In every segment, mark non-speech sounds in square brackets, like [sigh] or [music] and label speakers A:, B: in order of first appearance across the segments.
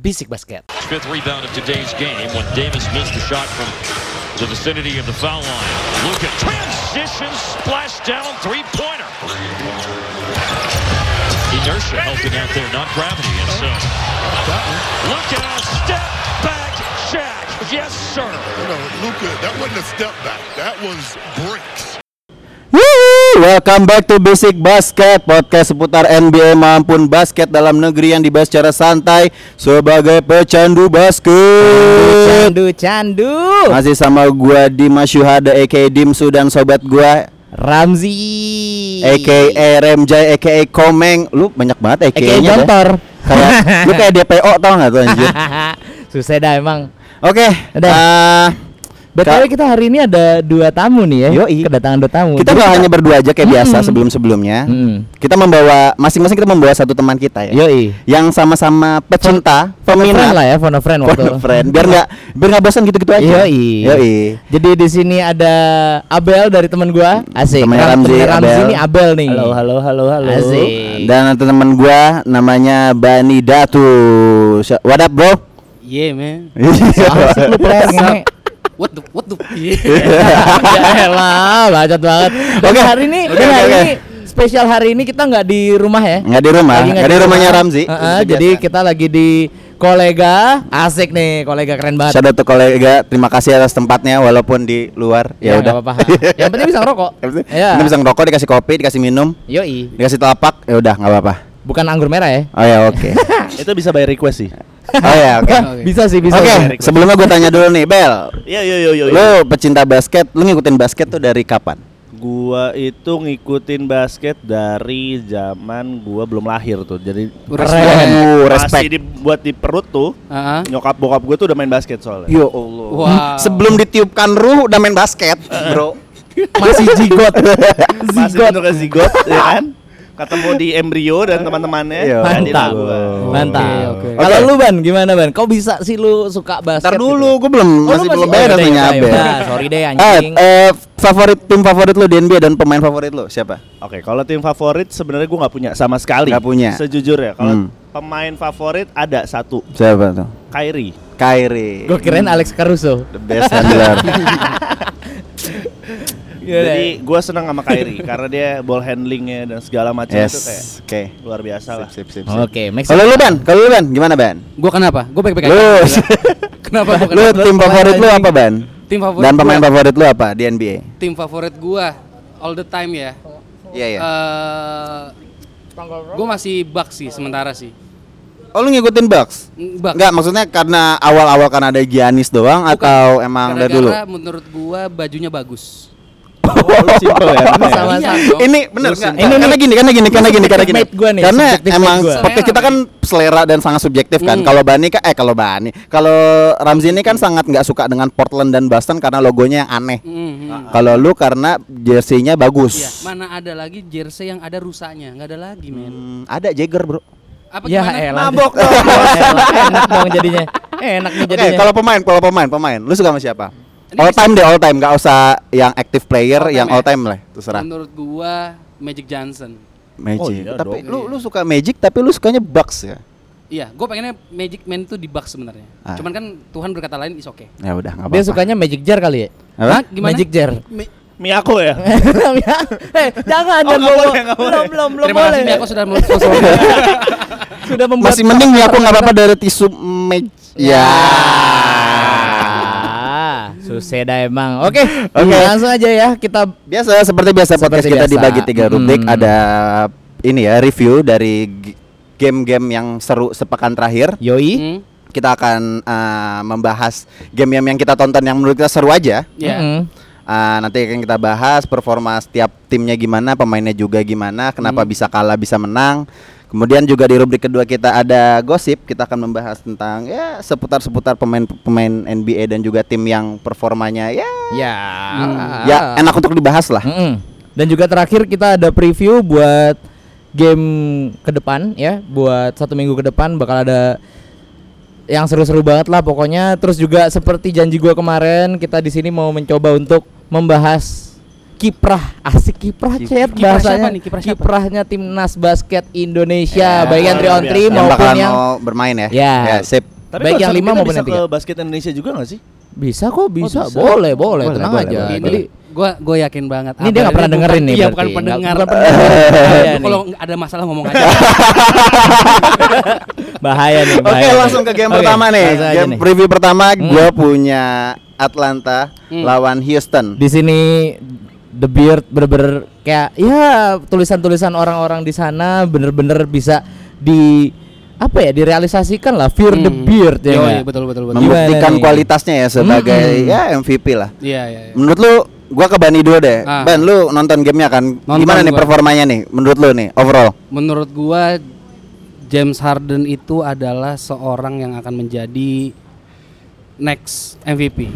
A: Basic Basket.
B: Fifth rebound of today's game when Davis missed a shot from the vicinity of the foul line. Look at transition splashdown three-pointer. Inertia helping out there, not gravity. And so, look at a step back jack. Yes, sir.
C: You know, Luca, that wasn't a step back. That was bricks.
D: Yuhu, Welcome back to Basic Basket Podcast seputar NBA maupun basket dalam negeri yang dibahas secara santai Sebagai pecandu basket
E: Candu, candu.
D: Masih sama gua Dimas Yuhada aka Dimsu dan sobat gua
E: Ramzi.
D: aka
E: Iya.
D: Remjay aka Komeng Lu banyak
E: AKA
D: banget aka-nya deh.
E: Jontor.
D: Kayak, Lu kayak DPO tau gak tuh anjir
E: [laughs] Susah dah emang.
D: Oke
E: Udah.
D: eh,
E: Betul kita hari ini ada dua tamu nih ya.
D: Yoi.
E: Kedatangan dua tamu.
D: Kita
E: Jadi
D: gak hanya berdua aja kayak biasa sebelum-sebelumnya
E: Mm.
D: Kita membawa, masing-masing kita membawa satu teman kita ya
E: Yoi.
D: yang sama-sama pecinta,
E: Friend
D: peminat,
E: lah ya, phone a friend
D: Phone
E: waktu.
D: a friend. Biar nggak biar nggak bosan gitu-gitu aja.
E: Yoi.
D: Yoi.
E: Jadi di sini ada Abel dari teman gua. Asik.
D: Temannya
E: Ram-
D: Ramzi,
E: temannya Ramzi
D: Abel.
E: nih Abel nih.
A: Halo, halo, halo, halo.
E: Asik.
D: Dan ada teman gua namanya Bani Datu. Sh- What up, bro?
F: Yeah, man.
E: Iya. Asik lu player ngehe.
F: Iya, What the what the
E: [laughs]
F: iya.
D: [laughs]
F: yeah.
E: Yaelah, Ya bacot banget. Dan
D: Oke.
E: hari ini,
D: Oke,
E: dan
D: oke,
E: hari
D: oke.
E: ini spesial hari ini kita nggak di rumah ya.
D: Nggak di rumah,
E: Lagi
D: nggak di rumahnya Ramzi.
E: Heeh, jadi kita lagi di kolega, asik nih, kolega keren banget.
D: Shout out to kolega, terima kasih atas tempatnya walaupun di luar. Ya, udah.
E: nggak apa-apa. Yang penting bisa
D: [laughs]
E: ngerokok.
D: Iya. Ini bisa ngerokok, dikasih kopi, dikasih minum,
E: Yoi,
D: dikasih telapak, ya udah nggak apa-apa.
E: bukan anggur merah ya.
D: Oh ya
E: [laughs]
D: oke.
A: Itu bisa by request sih.
D: Oh ya oke.
E: Bisa sih, bisa. sih.
D: Oke, sebelumnya gua tanya dulu nih, Bel.
A: Iya, iya, iya, iya.
D: Lu pecinta basket, lu ngikutin basket tuh dari kapan?
A: Gua itu ngikutin basket dari zaman gua belum lahir tuh. Jadi
E: Keren.
D: Waduh,
A: masih dibuat di perut tuh.
F: Uh-huh.
A: Nyokap bokap gua tuh udah main basket soalnya.
D: Ya Allah.
F: Wow.
D: Sebelum ditiupkan ruh udah main basket, bro.
E: Masih
D: [laughs]
E: jigot.
A: Masih
E: Zigot.
A: bentuknya zigot, ya kan? Ketemu di embrio dan teman-temannya.
D: Iya.
A: jadilah
E: Mantap.
A: gua.
E: Mantap.
F: Oke, oke.
E: Kalau lu Ban, gimana Ban? Kau bisa sih lu suka basket?
D: Ntar
E: gitu?
D: dulu, gue belum masih belum beres
E: nanya
D: nanya Abel.
E: sorry deh
D: Eh,
E: iya, anjing.
D: eh, favorit tim favorit lu di NBA dan pemain favorit lu siapa?
A: Oke, kalau tim favorit sebenarnya gua nggak punya sama sekali.
D: Nggak punya.
A: Sejujurnya, kalau
D: Hmm.
A: pemain favorit ada satu,
D: Siapa tuh?
A: Kyrie.
D: Kyrie.
E: Gue keren Alex Caruso.
D: The best handler.
E: Iya,
A: Jadi gua senang sama Kyrie karena dia ball handlingnya dan segala macam
D: yes.
A: itu kayak
D: Oke.
A: luar biasa lah.
D: Sip, sip, sip.
E: Oke, next.
D: Kalau lu Ban, kalau lu Ban gimana Ban?
F: Gua kenapa? Gua baik-baik
D: Lu
F: aja. Kenapa
D: [laughs]
F: gua
D: lu
F: kenapa?
D: tim favorit lu apa Ban?
F: Tim favorit
D: Dan pemain
F: gua,
D: favorit lu apa di NBA?
F: tim favorit gua all the time ya.
D: Iya,
F: Eh gua masih bug sih sementara sih. Mm,
D: Oh lu ngikutin Bucks?
F: Bug.
D: Enggak, maksudnya karena awal-awal kan ada Giannis doang atau emang dari dulu?
F: Gara-gara menurut gua bajunya bagus.
A: Oh, simple ya. bener ya?
E: Sama-
F: Iya, dong.
D: ini bener nggak?
E: Ini nih,
D: karena gini karena gini karena gini karena gini
E: subjective mate gua nih,
D: karena
E: subjective mate
D: emang
E: gua.
D: podcast kita kan selera dan sangat subjektif kan
F: Hmm.
D: kalau Bani kan eh kalau Bani kalau Ramzi ini kan sangat nggak suka dengan Portland dan Boston karena logonya yang aneh
F: Mm, mm.
D: kalau lu karena jersey-nya
F: Iya,
D: bagus
F: mana ada lagi jersey yang ada rusaknya? Nggak ada lagi, men.
D: Hmm, ada Jagger bro
F: Apa
E: Ya
F: gimana?
E: elah. Mabok [laughs] dong. Enak dong jadinya. Enak nih
D: Oke,
E: jadinya.
D: kalau pemain, kalau pemain, pemain, lu suka sama siapa?
F: Ini
D: All
F: bisa-
D: time deh, all time, nggak usah yang active player,
F: All time
D: yang
F: ya?
D: all time lah, terserah.
F: Menurut gua Magic Johnson.
D: Magic.
A: Oh, iya
D: tapi
A: dong.
D: lu lu suka Magic, tapi lu sukanya Bucks ya?
F: Iya, gue pengennya Magic Man tuh di bug sebenarnya.
D: Ah.
F: Cuman kan Tuhan berkata lain is okay.
D: Ya udah, nggak apa-apa.
E: Dia sukanya Magic Jar kali ya?
D: Apa?
F: Hah? Gimana?
E: Magic Jar. [laughs]
A: Miyako ya.
D: Oh,
E: Eh, jangan jangan
A: Oh, nggak
E: belum
A: boleh, nggak boleh.
E: belum belum belum
F: Terima kasih
E: boleh.
F: Mia, aku sudah
E: [laughs]
F: menonton.
E: Sudah membuat
D: Masih mending ya aku nggak apa-apa dari tisu Magic. Ya.
E: Ah, susah dah emang. Oke,
D: Oke.
E: langsung aja ya kita
D: Biasa seperti biasa podcast
E: Seperti
D: kita
E: biasa.
D: dibagi tiga rubrik.
E: Hmm.
D: Ada ini ya review dari g- game-game yang seru sepekan terakhir.
E: Yoi.
F: Hmm,
D: Kita akan eh, membahas game-game yang kita tonton yang menurut kita seru aja.
F: Ya.
E: Mm-mm.
D: Ah, nanti akan kita bahas performa setiap timnya gimana, pemainnya juga gimana, kenapa
E: Hmm.
D: bisa kalah, bisa menang. Kemudian juga di rubrik kedua kita ada gosip, kita akan membahas tentang ya seputar-seputar pemain-pemain NBA dan juga tim yang performanya ya
E: Ya.
D: ya enak untuk dibahas lah.
E: Mm-mm. Dan juga terakhir kita ada preview buat game ke depan ya, buat satu minggu ke depan bakal ada yang seru-seru banget lah pokoknya. Terus juga seperti janji gua kemarin, kita di sini mau mencoba untuk membahas kiprah asik kiprah chat
F: kiprah siapa
E: bahasanya
F: nih? Kiprah siapa?
E: kiprahnya timnas basket Indonesia
D: Ya,
E: baik yang 3 on 3
D: Yang
E: maupun
D: bakalan
E: yang
D: mau bermain ya.
E: Ya.
D: sip.
E: Baik yang
A: kalau
E: lima
A: kita
E: maupun
A: bisa
E: yang
A: ke
E: tiga.
A: basket Indonesia juga gak sih?
E: Bisa kok, bisa.
A: bisa.
E: Boleh, boleh,
D: Boleh,
E: tenang
D: boleh,
E: aja.
D: boleh,
E: Jadi
F: Ini gue gue yakin banget.
E: Ini dia nggak
F: Abel
E: pernah dengerin
F: bukan-
E: nih
F: Iya
E: berarti.
F: bukan
E: Nggak- Iya,
F: pendengar.
E: bukan
F: [laughs] Lu Iya, Kalau ada masalah ngomong aja.
E: [laughs]
A: Bahaya nih,
D: Oke
A: bahaya.
D: langsung ke game
E: Ya, Oke,
D: pertama nih.
E: langsung aja
D: Game
E: nih.
D: preview pertama
E: Hmm.
D: gue punya Atlanta
F: Hmm.
D: lawan Houston.
E: di sini The Beard bener-bener kayak ya tulisan-tulisan orang-orang di sana bener-bener bisa di apa ya direalisasikan lah Fear [laughs] the
F: Hmm.
E: Beard ya.
F: Yoi,
E: nggak?
F: betul betul betul.
E: Mem-
D: Membuktikan
E: nih? Hmm.
D: kualitasnya ya sebagai
E: Mm-mm.
D: ya MVP lah.
F: Iya iya. iya.
D: Menurut lu gua ke Bani dulu deh.
F: Ah.
D: Ban lu nonton gamenya kan?
F: Nonton
D: Gimana nih
F: gua.
D: performanya nih menurut lu nih overall?
F: Menurut gua James Harden itu adalah seorang yang akan menjadi next MVP.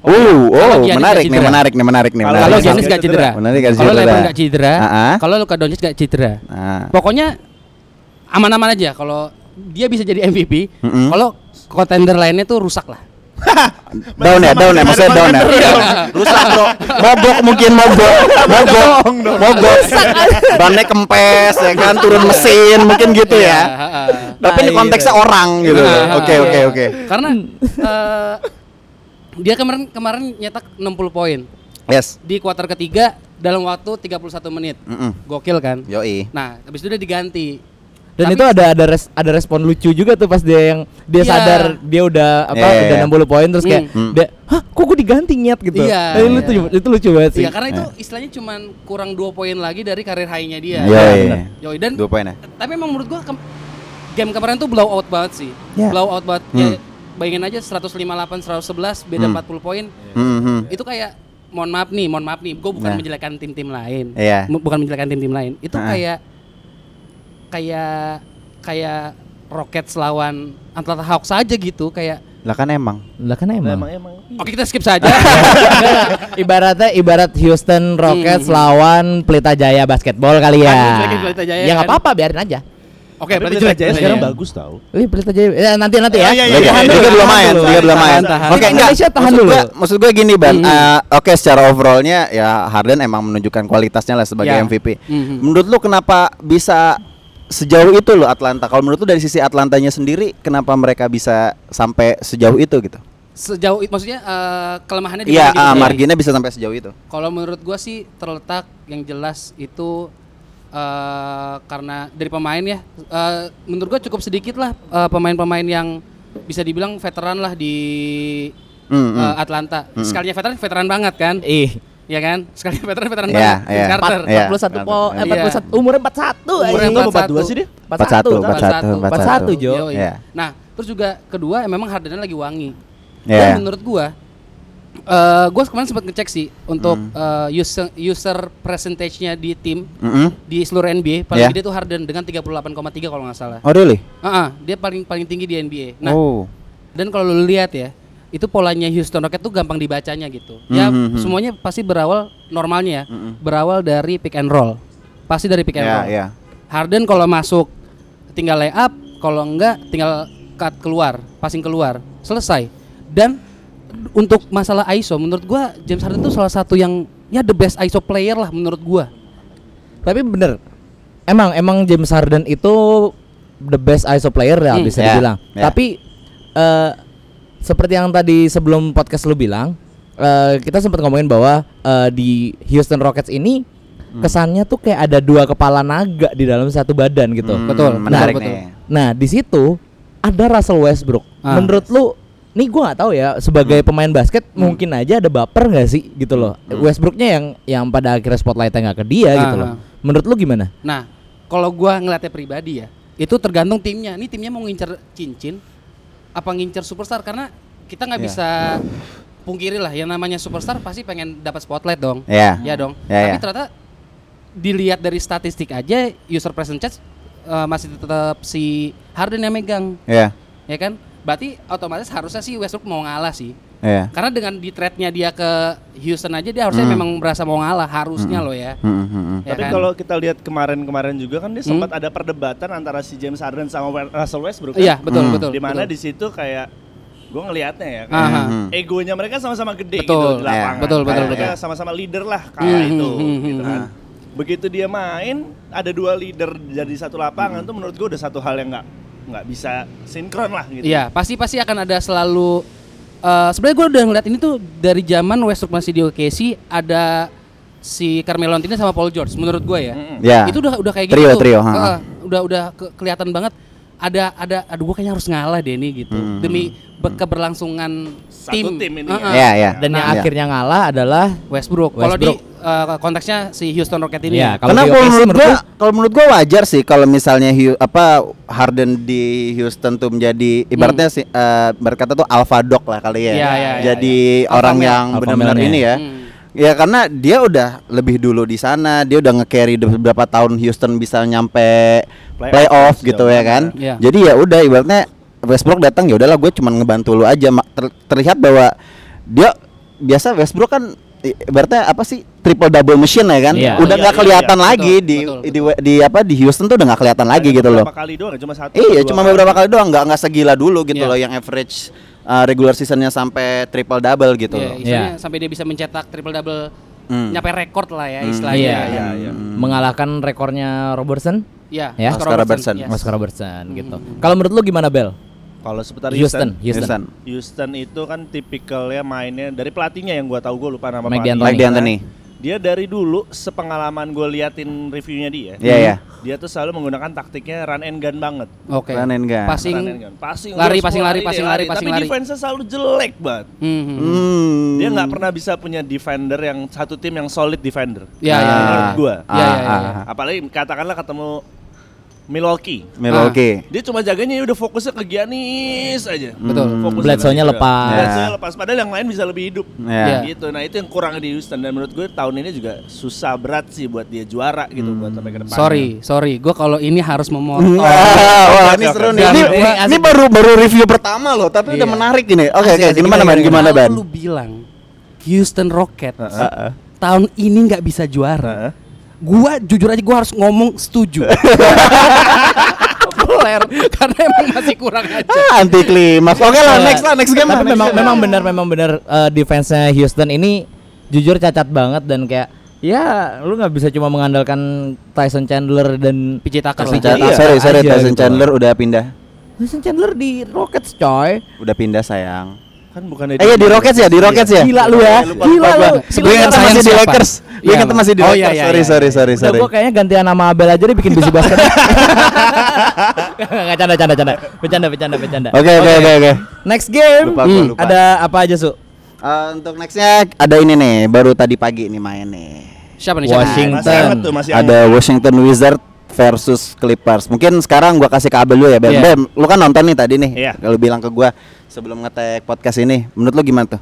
D: Oh, oh,
F: iya. Kalau
D: menarik
F: Giannis nggak
D: nih,
F: cedera.
D: menarik nih, menarik nih,
A: Kalau-
E: Iya,
D: menarik.
F: Kalau
A: Giannis
F: Giannis
A: nggak
F: gak cedera.
D: cedera. Giannis nggak
F: Kalau
D: cedera.
F: LeBron gak cedera.
E: Ah,
D: Ah-ah.
F: Kalau Luka Doncic gak cedera.
D: Nah.
F: Pokoknya aman-aman aja kalau dia bisa jadi MVP.
D: Mm-mm.
F: Kalau contender lainnya tuh rusak lah.
D: Down ya, down ya, maksudnya down ya. Rusak bro, mabok mungkin mabok, mabok, mabok. Bannya kempes ya kan, turun mesin mungkin gitu ya.
F: Iya, ha-ha.
D: Tapi ini konteksnya orang gitu.
F: Nah,
D: Oke,
F: iya.
D: oke, oke.
F: Karena eh, dia kemarin kemarin nyetak 60 poin
D: Yes.
F: di kuarter ketiga dalam waktu 31 menit.
D: Mm-mm.
F: Gokil kan?
D: Yoi.
F: Nah, habis itu dia diganti.
E: Dan
F: Tapi-
E: itu ada ada res- ada respon lucu juga tuh pas dia yang dia
F: Iya.
E: sadar dia udah apa
D: Iya, iya,
E: udah
D: iya.
E: 60 poin terus kayak
D: Hmm.
E: dia hah kok gue diganti nyet gitu.
F: Iya,
E: Eh, lu
F: iya.
E: tuh- itu lucu banget sih.
F: Iya, karena itu
D: eh.
F: istilahnya cuman kurang dua poin lagi dari karir high-nya dia.
D: Yoi.
E: benar.
F: Yoi, dan
D: Iya, Dua poin ya.
F: tapi emang menurut gua kem- game kemarin tuh blow out banget sih.
D: Ya.
F: Blow out banget.
D: Hmm.
F: Ya, bayangin aja 158 111 beda
D: Hmm.
F: 40 poin.
D: Hmm, hmm.
F: Itu kayak mohon maaf nih, mohon maaf nih, gua bukan
D: Nah.
F: menjelekkan tim-tim lain.
D: Iya.
F: M- Bukan menjelekkan tim-tim lain. Itu
D: Ah.
F: kayak kayak kayak Rockets lawan Atlanta Hawks aja gitu kayak
D: Lah kan emang.
E: Lah kan emang.
A: Emang emang. iya.
F: Oke kita skip
D: [laughs]
F: saja.
E: [laughs] Ibaratnya ibarat Houston Rockets
F: Hmm.
E: lawan Pelita Jaya basketball kali ya.
F: Ah, jelekin Pelita Jaya
E: ya nggak
F: kan.
E: apa-apa biarin aja.
F: Oke,
A: Tapi
F: berarti ya. Iya. jelek
A: Pelita Jaya
F: Pelita
A: sekarang
F: Jaya.
A: bagus tau.
E: Eh, Pelita Jaya ya, nanti nanti
F: Oh,
E: ya.
A: Iya, iya,
D: Liga,
A: iya.
D: Liga
A: Tahan
D: belum main,
A: dulu, tahan
D: Liga
A: dulu,
D: belum main.
A: tahan,
D: Oke,
A: tahan.
E: Liga
D: enggak.
E: Indonesia tahan
D: Maksud
E: dulu.
D: gua- Maksud gue gini, Ban.
F: Hmm.
D: Eh, Oke, secara overallnya ya Harden emang menunjukkan kualitasnya lah sebagai
F: Ya.
D: MVP.
F: Mhm.
D: Menurut lu kenapa bisa sejauh itu loh Atlanta? Kalau menurut lu dari sisi Atlantanya sendiri, kenapa mereka bisa sampai sejauh itu gitu?
F: Sejauh itu maksudnya eh, kelemahannya di
D: Iya,
F: mana gitu
D: ah,
F: ya?
D: marginnya bisa sampai sejauh itu.
F: Kalau menurut gua sih terletak yang jelas itu eh karena dari pemain ya. Eh, menurut gua cukup sedikit lah eh, pemain-pemain yang bisa dibilang veteran lah di
D: Hmm,
F: eh,
D: hmm.
F: Atlanta.
D: Mm-mm.
F: Sekalinya veteran veteran banget kan?
E: Ih,
F: Iya kan? Sekalinya veteran veteran
D: Iya,
F: banget. Vince
D: iya.
F: Carter.
D: Iya.
E: 41 po, eh,
F: Iya.
E: 41 umur 41
F: Umurnya
E: anjing.
A: Emang
F: Empat
A: 42
F: satu.
A: sih dia?
D: 41, 41,
E: 41.
D: 41.
E: 41, Jo.
F: Yoi.
D: Iya.
F: Nah, terus juga kedua memang Hardennya lagi wangi.
D: Iya.
F: Dan menurut gua eh gua kemarin sempat ngecek sih untuk
D: Mm.
F: eh, user user percentage-nya di tim
D: Mm-mm.
F: di seluruh NBA paling
D: Yeah.
F: gede tuh Harden dengan 38,3 kalau nggak salah.
D: Oh, really?
F: Heeh, dia paling paling tinggi di NBA. Nah,
D: oh.
F: dan kalau lu lihat ya, itu polanya Houston Rockets tuh gampang dibacanya gitu. Ya,
D: Mhm, mhm.
F: semuanya pasti berawal normalnya ya,
D: Mhm.
F: berawal dari pick and roll. Pasti dari pick and
D: Iya,
F: roll.
D: iya.
F: Harden kalau masuk tinggal lay up, kalau enggak tinggal cut keluar, passing keluar, selesai. Dan untuk masalah ISO menurut gua James Harden tuh salah satu yang ya the best ISO player lah menurut gua.
E: Tapi bener. Emang emang James Harden itu the best ISO player ya
F: Hmm.
E: bisa
D: Ya,
E: dibilang.
D: ya.
E: Tapi eh seperti yang tadi sebelum podcast lu bilang, eh kita sempat ngomongin bahwa eh, di Houston Rockets ini
D: Hmm.
E: kesannya tuh kayak ada dua kepala naga di dalam satu badan gitu.
D: Hmm,
F: Betul,
D: Menarik
F: betul,
D: nih.
E: Nah, di situ ada Russell Westbrook.
F: Ah.
E: Menurut lu nih gua nggak tahu ya sebagai pemain basket mungkin aja ada baper nggak sih gitu loh. Westbrooknya yang yang pada akhirnya spotlightnya nggak ke dia gitu
F: Ah,
E: loh.
F: ah.
E: Menurut lu gimana?
F: Nah, kalau gua ngeliatnya pribadi ya, itu tergantung timnya. Ini timnya mau ngincer cincin apa ngincer superstar karena kita nggak
D: Iya.
F: bisa pungkiri lah yang namanya superstar pasti pengen dapat spotlight dong.
D: Iya.
F: Ya dong.
D: Iya,
F: Tapi
D: iya.
F: ternyata dilihat dari statistik aja user percentage eh, masih tetap si Harden yang megang,
D: Iya.
F: ya kan? Berarti otomatis harusnya sih Westbrook mau ngalah sih.
D: Iya.
F: Karena dengan di trade-nya dia ke Houston aja dia harusnya
D: Hmm.
F: memang merasa mau ngalah harusnya loh ya.
D: Mm, mm, mm.
F: Ya
A: Tapi
F: kan?
A: kalau kita lihat kemarin-kemarin juga kan dia
F: Hmm.
A: sempat ada perdebatan antara si James Harden sama Wer- Russell Westbrook. kan?
F: Iya, betul
D: Hmm.
F: betul.
A: Di mana
F: betul.
A: di situ kayak gue ngelihatnya ya kayak
F: Aha.
D: Mhm.
A: egonya mereka sama-sama gede
F: Betul.
A: gitu di lapangan.
F: Ya, betul, betul,
A: Kayaknya
F: betul.
A: Sama-sama leader lah kayak
F: Mhm,
A: itu
F: mhm,
A: gitu
F: mhm.
A: kan.
F: Hmm.
A: Begitu dia main ada dua leader jadi satu lapangan tuh menurut gue udah satu hal yang nggak nggak bisa sinkron lah gitu.
F: Iya, pasti pasti akan ada selalu. eh Sebenarnya gue udah ngeliat ini tuh dari zaman Westbrook masih di OKC ada si Carmelo Anthony sama Paul George. Menurut gue ya,
A: Mm-mm.
D: Ya.
F: itu udah udah kayak gitu.
D: Trio, trio, ha.
F: Heeh, udah udah ke- kelihatan banget. Ada ada, aduh gue kayaknya harus ngalah deh ini gitu
D: Hmm.
F: demi be- keberlangsungan
A: Satu tim ini
F: Heeh.
A: ya.
D: Ya, ya.
E: Dan yang
F: Nah,
E: akhirnya ngalah adalah
F: Westbrook. Kalau di
E: Westbrook.
F: eh, konteksnya si Houston Rocket ini.
E: Iya,
F: ya.
E: Kalau
D: Karena
E: di
D: kalau
E: OKC
D: menurut
E: menurut
D: gua,
E: gua-
D: kalau menurut gua wajar sih kalau misalnya Hu- apa Harden di Houston tuh menjadi ibaratnya sih eh, ibarat kata tuh alpha dog lah kali ya.
F: Hmm. Iya, iya, iya,
D: Jadi
F: iya.
D: orang
F: Alpha male.
D: yang
E: Alpha
D: benar-benar
E: male-nya.
D: ini ya.
F: Hmm.
D: Ya karena dia udah lebih dulu di sana, dia udah nge-carry de- beberapa tahun Houston bisa nyampe
A: Playoff,
D: playoff gitu
A: sejauh
D: ya
A: mana.
D: kan.
F: Iya.
D: Jadi ya udah ibaratnya Westbrook datang ya udahlah gue cuman ngebantu lu aja Ma- ter- terlihat bahwa dia biasa Westbrook kan i- ibaratnya apa sih triple double machine ya kan.
E: Iya.
D: Udah
A: Iya,
D: nggak
A: iya,
D: kelihatan
A: iya.
D: lagi
F: Betul,
D: di,
F: betul,
D: di di apa di Houston tuh udah nggak kelihatan lagi
A: Ada
D: gitu loh.
A: Beberapa kali doang, cuma satu.
D: Iya,
A: dua
D: cuma beberapa kali doang nggak nggak segila dulu gitu
F: Iya.
D: loh yang average uh, regular seasonnya sampai triple double gitu
F: Iya,
D: loh.
F: istilahnya sampai dia bisa mencetak triple double
D: Hmm.
F: nyampe rekor lah ya
D: Hmm.
F: istilahnya.
E: Iya,
F: ya.
A: Iya, iya.
E: mengalahkan rekornya Robertson,
F: Iya,
E: Ya.
F: Oscar
D: Oscar Robertson.
F: yes.
E: Oscar Robertson gitu. Kalau menurut lu gimana Bel?
A: Kalau seputar
E: Houston,
A: Houston,
E: Houston.
D: Houston.
A: Houston itu kan tipikalnya mainnya dari pelatihnya yang gua tahu gue lupa nama
E: Mike
A: pelatihnya.
E: D'Antoni.
D: Mike D'Antoni.
A: Dia dari dulu sepengalaman gue liatin reviewnya dia.
D: Iya, iya.
A: Dia tuh selalu menggunakan taktiknya run and gun banget.
F: Oke.
D: Run and gun.
F: Passing.
A: Run and gun. Passing
F: Lari,
A: gua harus
F: passing,
A: mau
F: lari,
A: deh,
F: passing, lari, passing,
A: Tapi
F: lari.
A: defense-nya selalu jelek banget.
F: Hmm, hmm.
D: Hmm.
A: Dia nggak pernah bisa punya defender yang satu tim yang solid defender.
F: Iya,
D: Ah.
F: iya, iya.
A: Menurut gua.
F: Iya, iya, iya,
D: Ah,
F: iya.
D: ah, ah.
A: Apalagi katakanlah ketemu Milwaukee.
D: Milwaukee.
A: Dia cuma jaganya ya udah fokusnya ke Giannis aja.
D: Hmm.
F: Betul.
A: Fokusnya
E: Bledsoe-nya
A: ke-
E: lepas.
A: Bledsoe-nya lepas. Padahal yang lain bisa lebih hidup.
D: Ya.
F: Iya.
A: Gitu. Nah itu yang kurang di Houston. Dan menurut gue tahun ini juga susah berat sih buat dia juara gitu buat sampai ke depan.
F: Sorry, sorry. Gue kalau ini harus memotong.
D: Hmm. [laughs] Wah, wah,
A: oke,
D: ini
A: oke,
D: seru
A: oke.
D: nih. Ini,
E: Ini- ini
D: ini
E: asik.
D: baru baru review pertama loh, tapi udah
F: Iya.
D: menarik ini. Oke, oke,
F: Asik, asik.
D: gimana ban? Gimana Ah,
F: Kalau
D: ban?
F: Lu bilang Houston Rockets tahun ini nggak bisa
A: Ah.
F: juara. Gua jujur aja gua harus ngomong [laughs] setuju. Populer karena emang masih kurang aja.
D: Ah, anti klimaks. Oke
E: Eh,
D: lah, Nah, next lah, next game. lah,
E: Tapi
D: next
E: memang
D: game.
E: memang benar memang benar eh, defense-nya Houston ini jujur cacat banget dan kayak ya lu nggak bisa cuma mengandalkan Tyson Chandler dan
F: PJ Tucker
D: Tyson
F: lah.
D: Chandler,
E: Iya,
D: ah, sorry, sorry,
E: aja
D: Tyson
E: gitu.
D: Chandler udah pindah.
E: Tyson Chandler di Rockets coy.
D: Udah pindah sayang.
A: Kan Nah, bukannya
D: Eh ya di Rockets ya, di Rockets ya.
E: Gila lu ya.
A: Lupa,
E: Gila
D: Lupa
E: lu.
D: gua. Gue ingat
E: Sayang
D: masih di
E: siapa?
D: Lakers. Gue
F: Iya,
D: ingat
F: Bang.
D: masih di
F: Oh, iya,
D: Lakers.
F: iya,
D: Sorry,
F: iya,
D: sorry, sorry,
E: Udah
D: sorry.
E: gue kayaknya gantian nama Abel aja deh bikin busy [laughs] basket. Enggak canda canda canda. Bercanda bercanda bercanda.
D: Oke, oke, oke, oke.
E: Next game.
D: Lupa, gua
E: hmm,
D: lupa.
E: Ada apa aja, Su?
D: Eh, Untuk nextnya ada ini nih, baru tadi pagi nih main nih.
F: Siapa nih? siapa?
E: Washington.
A: Masih hangat tuh, masih hangat.
D: ada Washington Wizard versus Clippers. Mungkin sekarang gua kasih kabel lu ya, Bem.
F: Iya.
D: Bem, lu kan nonton nih tadi nih.
A: Iya.
D: Kalau bilang ke gua sebelum ngetek podcast ini, menurut lu gimana tuh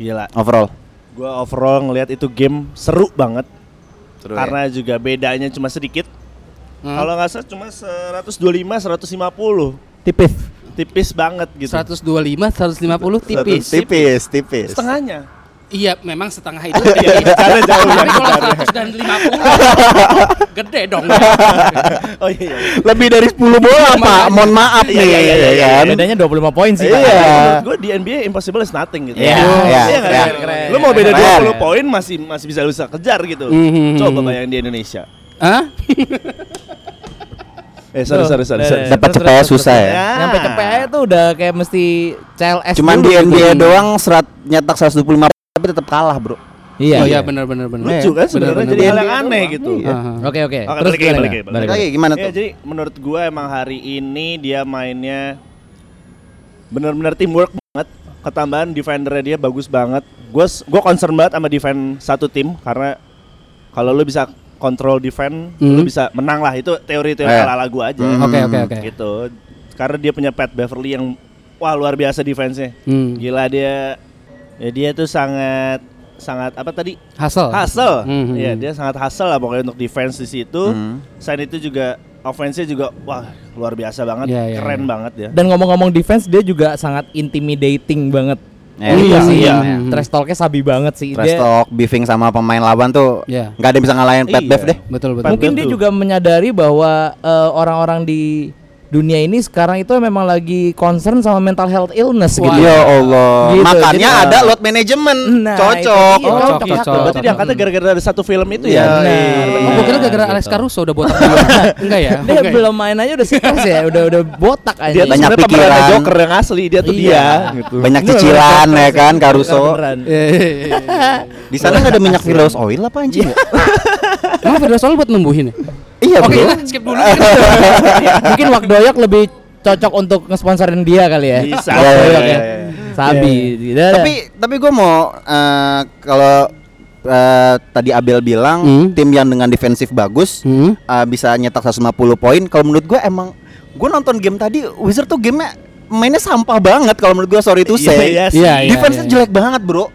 A: Gila.
D: overall?
A: Gue overall ngelihat itu game seru banget.
D: Seru ya.
A: karena juga bedanya cuma sedikit.
F: Hmm.
A: Kalau nggak salah cuma 125, 150.
E: Tipis.
A: Tipis banget gitu.
F: 125, 150 tipis.
D: tipis, tipis.
A: Setengahnya.
F: Iya, memang setengah
A: [laughs]
F: itu.
A: Iya, bercanda jauh ya,
F: Tapi kalau
A: bercanda.
F: 150 dan 50 gede dong.
A: [laughs] Oh iya. iya.
D: Lebih dari 10 bola, Pak. Mohon maaf nih.
A: Iya, iya, iya, iya,
D: ya kan?
E: Bedanya 25 poin sih. Pak.
D: Iya.
A: Menurut gue di NBA impossible is nothing gitu.
D: Iya, iya,
A: Wow. nggak
D: iya.
A: sih?
E: Keren,
A: Lu mau beda
D: keren.
A: 20 poin masih masih bisa lu bisa kejar gitu.
F: Mhm.
A: Coba bayangin di Indonesia.
F: [laughs] Hah?
A: Eh
E: Tuh,
A: sorry sorry sorry.
E: deh,
A: sorry.
E: deh.
D: Dapat
E: Terus,
D: cepet
E: terus,
D: susah
E: terus.
D: ya.
A: Ah.
E: Nyampe cepet aja tuh udah kayak mesti CLS.
D: Eh, Cuman
E: dulu
D: di
E: gitu.
D: NBA doang serat nyetak 125 tapi tetap kalah, Bro.
E: Iya.
F: oh
E: iya.
F: iya, benar benar benar.
A: Lucu kan sebenarnya
F: Bener,
A: jadi
F: bener.
A: hal yang aneh gitu.
D: Iya.
F: Aha.
E: Oke oke.
A: Oke,
E: Terus
A: balik lagi,
E: gimana?
A: balik lagi, balik
E: Balik
D: Lagi
E: lagi.
D: gimana
A: Ya
D: tuh?
A: jadi menurut gue emang hari ini dia mainnya benar-benar teamwork banget. Ketambahan defendernya dia bagus banget. Gue gue concern banget sama defense satu tim karena kalau lu bisa kontrol defense, lu
F: Mhm.
A: bisa menang lah. Itu teori-teori
D: Eh.
A: ala-ala gue aja.
D: Mhm.
F: Iya. Hmm. Oke oke oke.
A: Gitu. Karena dia punya Pat Beverly yang wah luar biasa defense-nya.
F: Hmm.
A: Gila dia ya dia tuh sangat sangat apa tadi?
F: Hustle.
A: Hustle.
F: Mhm.
A: Iya, dia sangat hustle lah pokoknya untuk defense di situ.
D: Hmm.
A: Selain itu juga offense-nya juga wah luar biasa banget,
F: Iya, iya, iya.
A: keren banget ya.
E: Dan ngomong-ngomong defense dia juga sangat intimidating banget.
D: Ya,
A: Iya,
E: sih.
A: iya.
E: Trash talk-nya sabi banget sih. Dia-
D: Trash talk, beefing sama pemain lawan tuh
F: Iya.
D: nggak ada yang bisa ngalahin Pat
A: Iya.
D: Bev deh.
F: Betul betul.
A: Pat-
E: Mungkin
A: Betul.
E: dia juga menyadari bahwa eh, orang-orang di dunia ini sekarang itu memang lagi concern sama mental health illness
F: Wah.
E: gitu.
D: Ya
A: iya.
D: Allah.
E: Gitu,
D: Makanya
E: jadi-
D: ada load management.
E: Nah,
D: Cocok.
E: itu dia,
F: Cocok,
E: cocok,
F: cocok.
E: cocok.
A: Oh, Berarti diangkatnya gara-gara ada satu film itu
D: Iya,
A: ya.
D: iya.
F: Mhm. Oh, gua kira gara-gara
D: Gitu.
F: Alex Caruso udah botak. Enggak ya?
A: [laughs]
E: Dia belum main aja udah stres ya, udah udah botak aja.
A: Dia tuh
D: Banyak
A: sebenarnya pemerannya
D: pikiran.
A: Joker yang asli, dia tuh
E: Iya.
A: dia gitu. Iya,
D: Banyak
E: Ini
D: cicilan
E: beneran
D: ya
E: stres
D: kan
E: ini,
D: Caruso.
E: beneran,
F: Iya.
E: beneran.
D: Di sana nggak ada minyak Firdaus oil apa anjing?
E: Iya.
D: ya?
F: Emang Firdaus Soal buat numbuhin ya?
D: Iya
E: Oh,
F: Oke,
D: [laughs] bro.
F: kita skip dulu.
E: [laughs] Mungkin Wakdoyok lebih cocok untuk ngesponsorin dia kali ya.
A: Bisa.
D: Iya, iya,
A: Iya,
E: iya.
A: iya, iya.
E: Sabi. gitu.
D: tapi tapi gue mau eh, kalau eh, tadi Abel bilang
F: Hmm.
D: tim yang dengan defensif bagus
F: Hmm.
D: eh, bisa nyetak 150 poin kalau menurut gue emang gue nonton game tadi Wizard tuh gamenya mainnya sampah banget kalau menurse gue sorry to
A: Iya,
D: say
A: iya sih.
F: Iya, iya.
D: defense jelek banget bro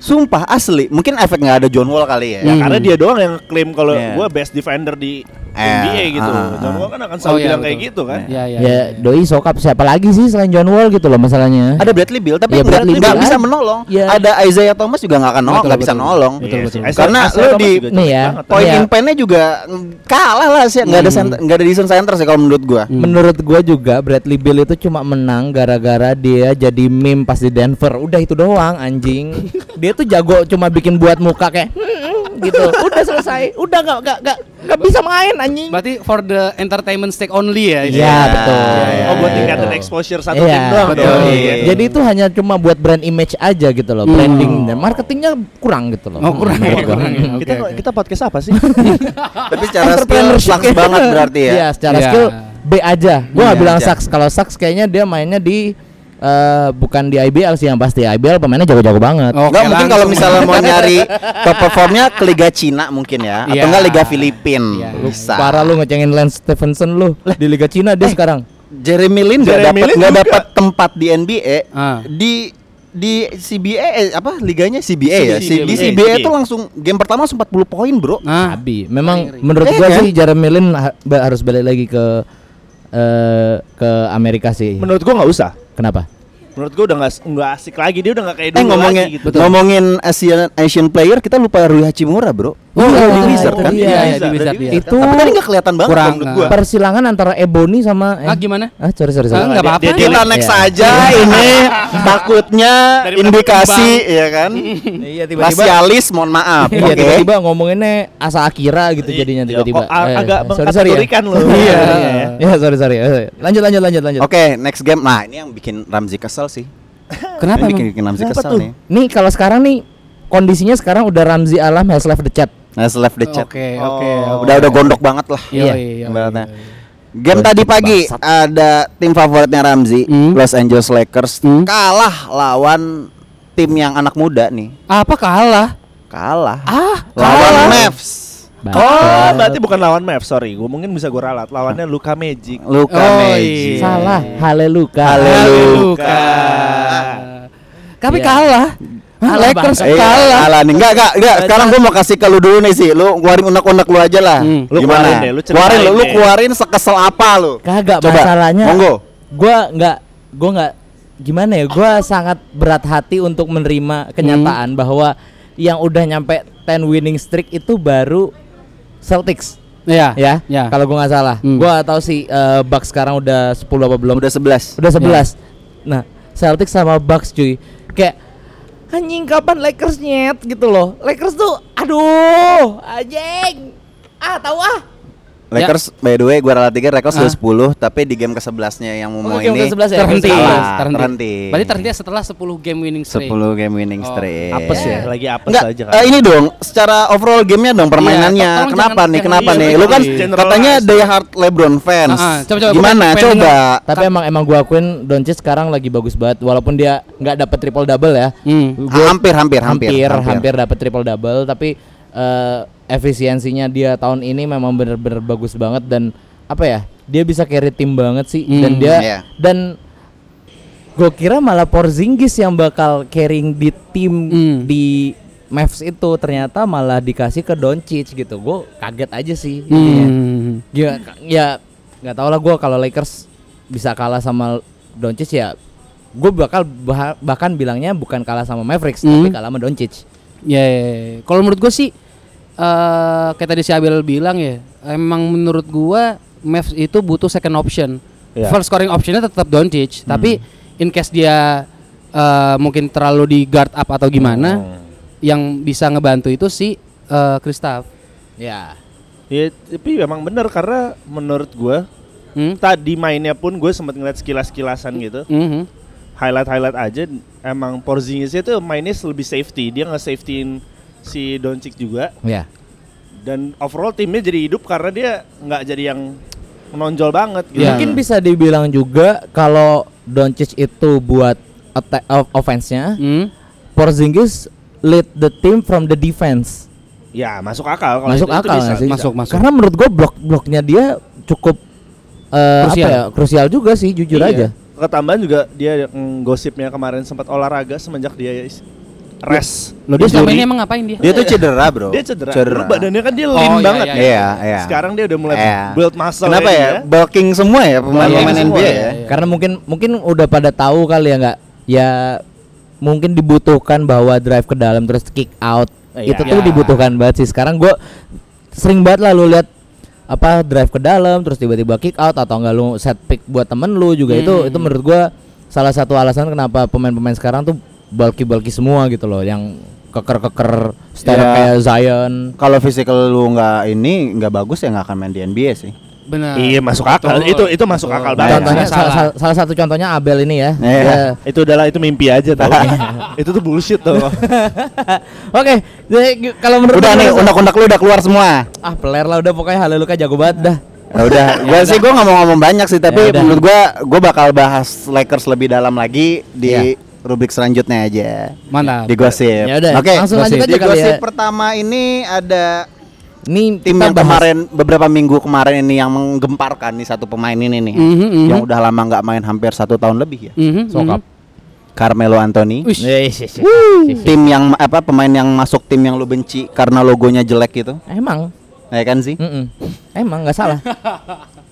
D: sumpah asli mungkin efek nggak ada John Wall kali ya
A: Ya,
F: Hmm.
A: karena dia doang yang klaim kalau
D: Iya.
A: gua best defender di
D: Eh,
A: NBA gitu.
D: ah, ah,
A: John
D: ah.
A: Wall kan akan selalu
F: Oh, iya,
A: bilang kayak
F: betul.
A: gitu kan.
F: Ya, ya.
E: ya
D: Iya.
E: doi sokap siapa lagi sih selain John Wall gitu loh masalahnya.
D: ada Bradley Beal tapi
E: Iya,
D: nggak
E: Bradley
D: nggak
E: Beal
D: bisa
E: ada.
D: menolong
E: Iya.
D: ada Isaiah Thomas juga nggak akan nolong
F: Betul,
D: nggak bisa
F: betul.
D: nolong
A: Betul,
F: Iya
A: betul.
F: sih.
A: Isaiah-
D: Karena
A: Isaiah
D: lu
A: Thomas
D: di-
A: juga
E: Nih ya.
A: jelek banget.
D: Point
E: Iya.
D: in nya juga mm, kalah lah sih, nggak ada
F: Hmm.
D: center- nggak ada decent center sih kalau menurut gua.
F: Hmm.
E: Menurut gua juga Bradley Beal itu cuma menang gara-gara dia jadi meme pas di Denver. Udah itu doang anjing. dia tuh jago cuma bikin buat muka kayak "Hmm," gitu. Udah selesai. Udah nggak nggak nggak nggak bisa main anjing.
F: Berarti for the entertainment stake only ya.
E: Iya betul.
D: Iya,
A: Oh, buat
D: iya,
A: tingkatan
E: Gitu.
A: exposure
E: Iya,
A: satu tim doang.
F: betul.
A: dong.
D: Iya.
E: Jadi itu hanya cuma buat brand image aja gitu loh,
F: Hmm.
E: branding dan marketingnya kurang gitu loh.
F: Oh, kurang ya,
E: Menurut gua.
F: kurang ya.
A: Iya, Kita
F: Oke, oke.
A: kita podcast apa sih?
D: Tapi secara skill
E: Entrepreneurship.
D: flux banget berarti ya.
E: Iya, secara
F: Iya.
E: skill B aja. Gua nggak
D: Iya
E: bilang
D: aja.
E: Saks kalau Saks kayaknya dia mainnya di eh, bukan di IBL sih yang pasti IBL pemainnya jago-jago banget.
F: Oke,
D: Enggak mungkin kalau
F: langsung.
D: misalnya
F: [laughs]
D: mau nyari top performnya ke Liga Cina mungkin ya atau
F: Iya.
D: enggak Liga Filipin
F: Iya.
D: bisa.
E: Parah lu ngecengin Lance Stephenson lu di Liga Cina dia sekarang.
D: Jeremy Lin enggak
A: Jeremy
D: dapat
A: Lin
D: enggak
A: juga.
D: dapat tempat di NBA
F: Ah.
D: di di CBA eh, apa liganya CBA ya
A: CBA.
D: di
A: CBA.
D: CBA itu langsung game pertama langsung 40 poin bro Eh,
F: Nah,
E: Abi, memang
F: Ngeri-ngeri.
E: menurut
D: Iya
E: gua
D: kan?
E: sih Jeremy Lin ha- ba- harus balik lagi ke eh, ke Amerika sih.
A: Menurut gua nggak usah.
E: Kenapa?
A: Menurut gua udah nggak nggak asik lagi. Dia udah nggak kayak
D: eh
A: dulu
D: ngomongin
A: lagi gitu.
D: ngomongin Asian Asian player kita lupa Rui Hachimura bro
E: Oh,
D: Iya,
E: iya,
D: itu
E: iya,
D: Wizard
E: itu
D: kan
E: dia.
F: Iya,
D: Iya,
F: iya, di Wizard,
D: dari
F: iya.
D: Wizard.
E: Itu
D: tapi tadi nggak kelihatan banget
F: kurang,
D: kalau menurut
E: Nah.
D: gua
E: Persilangan antara Ebony sama
F: Ah, gimana?
E: Ah, sorry sorry.
F: Ah,
E: sorry.
F: nggak
A: dia-
F: apa-apa.
A: dia- dia-
D: kita next aja ini takutnya
A: Daripada
D: indikasi ya kan
E: Iya
D: rasialis mohon maaf
E: Iya
D: oke
E: tiba-tiba ngomonginnya asa Akira gitu jadinya tiba-tiba.
A: Oh, a-
E: Eh,
A: agak
E: sorry sorry ya.
A: mengkategorikan loh.
E: [laughs] Iya.
A: Iya.
E: Ya sorry sorry. Eh, Lanjut lanjut lanjut lanjut.
D: oke next game nah ini yang bikin Ramzi kesel sih
F: Kenapa
D: ini bikin,
F: emang?
D: bikin Ramzi
A: Kenapa
D: kesel
A: tuh?
D: nih
E: Nih kalau sekarang nih kondisinya sekarang udah Ramzi Alam has left the chat.
D: nah left the chat
F: Oh, Oke, oke. oke.
D: udah udah gondok banget lah
F: Yoi,
E: Iya,
F: yoi,
D: ibaratnya.
F: yoi.
D: Game tadi pagi ada tim favoritnya Ramzi,
F: Hmm.
D: Los Angeles Lakers
F: Hmm.
D: kalah lawan tim yang anak muda nih.
F: Apa kalah?
D: Kalah.
F: Ah,
D: lawan
F: kalah.
D: Mavs.
A: Oh, berarti bukan lawan Mavs, sorry. Gua mungkin bisa gua ralat. Lawannya Luka Magic.
D: Luka
F: Oh,
D: Magic.
F: iya.
E: Salah, haleluka.
D: Haleluya.
F: Luka. Kami
E: Iya.
F: Ya. kalah. Hah,
E: Kalah,
F: Lakers
E: bangsa.
D: Eh,
F: kalah.
D: kalah nih. Enggak, enggak, enggak. Sekarang gua mau kasih ke lu dulu nih sih. Lu keluarin unek-unek lu aja lah.
F: Hmm.
A: Lu
D: Gimana?
A: keluarin deh, lu ceritain
D: keluarin lu, lu
A: deh.
D: keluarin sekesel apa lu?
E: Kagak
D: Coba,
E: masalahnya.
D: monggo.
E: Gua nggak gua nggak gimana ya? Gua sangat berat hati untuk menerima
A: Hmm.
E: kenyataan bahwa yang udah nyampe 10 winning streak itu baru Celtics.
F: Iya.
E: ya.
F: Ya.
E: Kalau gua nggak salah,
F: Hmm.
E: gua tahu sih eh, Bucks sekarang udah 10 apa belum?
D: Udah 11.
E: Udah 11. Nah, Celtics sama Bucks cuy. Kayak anjing kapan Lakers nyet gitu loh. Lakers tuh aduh, anjing. Ah, tahu ah.
D: Lakers by the way gua rela 3 Lakers
F: Ah.
D: udah 10 tapi di game ke-11-nya yang mau
E: Oh, game
D: ini
E: ke-11 ya?
F: Terhenti,
D: Kalah,
F: terhenti.
D: terhenti.
F: Berarti terhenti setelah 10 game winning streak.
D: 10 game winning streak.
A: Apes ya, lagi apes
D: Iya. Enggak,
A: aja kan.
D: eh, ini dong, secara overall gamenya dong permainannya.
F: Iya, tolong
D: kenapa
F: jangan-
D: nih?
F: jangan
D: Kenapa
A: iya,
D: nih? Lu kan
A: generalize.
D: katanya die hard LeBron fans.
F: Ah, ah, coba- coba,
D: Gimana?
F: bukan fan
D: Coba.
E: Tapi emang emang gua akuin Doncic sekarang lagi bagus banget walaupun dia nggak dapet triple double ya.
F: Hmm.
E: Gua-
D: hampir, hampir, hampir,
E: hampir
D: hampir.
E: hampir dapat triple double tapi eh, efisiensinya dia tahun ini memang bener-bener bagus banget dan apa ya dia bisa carry tim banget sih dan
F: Hmm,
E: dia
D: iya.
E: dan gue kira malah Porzingis yang bakal carrying di tim
F: Hmm.
E: di Mavs itu ternyata malah dikasih ke Doncic gitu gue kaget aja sih jadinya.
F: Hmm.
E: ya ya nggak tau lah gue kalau Lakers bisa kalah sama Doncic ya gue bakal bah- bahkan bilangnya bukan kalah sama Mavericks tapi
F: Hmm.
E: kalah sama Doncic
F: Ya, ya, ya. kalau menurut gue sih eh kayak tadi si Abel bilang ya, emang menurut gua Mavs itu butuh second option.
A: Iya.
F: first scoring optionnya tetap Doncic tapi in case dia eh, mungkin terlalu di guard up atau gimana yang bisa ngebantu itu si eh, Kristaps
E: Ya.
A: Ya, tapi memang bener karena menurut gua
F: Hmm?
A: tadi mainnya pun gue sempat ngeliat sekilas-kilasan gitu
F: Mhm.
A: highlight-highlight aja emang Porzingis itu mainnya lebih safety dia nge-safetyin si Doncic juga
E: Ya.
A: dan overall timnya jadi hidup karena dia nggak jadi yang menonjol banget gitu.
F: Iya.
E: Mungkin bisa dibilang juga kalau Doncic itu buat attack of- offense-nya,
F: Hmm?
E: Porzingis lead the team from the defense.
A: Ya masuk akal kalau
E: masuk
A: itu- itu
E: akal
A: bisa.
E: nggak sih?
F: Oh, Masuk, masuk.
E: Karena menurut gue blok-bloknya dia cukup eh,
F: Krusial.
E: apa ya? Krusial juga sih jujur
A: Iya.
E: aja.
A: Ketambahan juga dia mm, gosipnya kemarin sempat olahraga semenjak dia is- rest.
F: Lo dia selama
A: Injury.
F: ini emang ngapain dia?
D: Dia tuh cedera, Bro.
A: dia Iya. cedera. Dulu badannya kan dia
F: Oh,
A: lean
F: iya,
A: banget.
F: iya,
D: Iya, iya.
A: Sekarang dia udah mulai
D: Iya.
A: build muscle.
D: Kenapa ya? Bulking semua ya pemain-pemain
A: Bulking
D: NBA
A: semua,
D: ya.
F: Iya.
E: Karena mungkin mungkin udah pada tahu kali ya nggak ya mungkin dibutuhkan bahwa drive ke dalam terus kick out
A: Iya.
E: itu tuh
F: Iya.
E: dibutuhkan banget sih. Sekarang gue sering banget lah lu lihat apa drive ke dalam terus tiba-tiba kick out atau enggak lu set pick buat temen lu juga itu
F: Hmm.
E: itu menurut gue salah satu alasan kenapa pemain-pemain sekarang tuh bulky-bulky semua gitu loh yang keker-keker style
D: Iya.
E: kayak Zion
D: Kalau physical lu nggak ini nggak bagus ya nggak akan main di NBA sih.
F: Benar.
A: Iya masuk akal.
F: Betul.
A: Itu itu masuk
D: Nah,
A: akal banget.
E: contohnya
F: Nggak
E: salah.
F: salah.
E: salah- salah satu contohnya Abel ini ya.
D: Iya.
E: Dia-
A: Itu adalah itu mimpi aja tau. itu tuh bullshit tuh.
E: [laughs] Oke, jadi g- kalau menurut
D: Udah
E: lu-
D: nih undak-undak lu udah keluar semua.
E: ah peler lah udah pokoknya Haleluka jago banget dah.
D: Ya udah, [laughs] gua sih gua nggak mau ngomong banyak sih, tapi
E: Ya udah.
D: menurut gua gua bakal bahas Lakers lebih dalam lagi di rubrik selanjutnya aja.
F: Mantap.
D: Di gosip.
E: Iya. Ya udah,
D: Oke.
E: langsung lanjut aja
D: Di
E: kali ya.
D: gosip pertama ini ada
E: Ini
D: tim
E: kita
D: yang
E: bahas-
D: kemarin beberapa minggu kemarin ini yang menggemparkan nih satu pemain ini nih
E: Mm-hmm,
F: Mhm, mhm.
D: yang udah lama nggak main hampir satu tahun lebih ya
F: Mhm,
E: Sokap.
F: mhm.
D: Carmelo Anthony
F: Uish.
E: Eh, sih, sih.
D: tim yang apa pemain yang masuk tim yang lu benci karena logonya jelek gitu
E: Emang,
D: ya kan sih
E: Mm-mm. emang nggak salah, [laughs]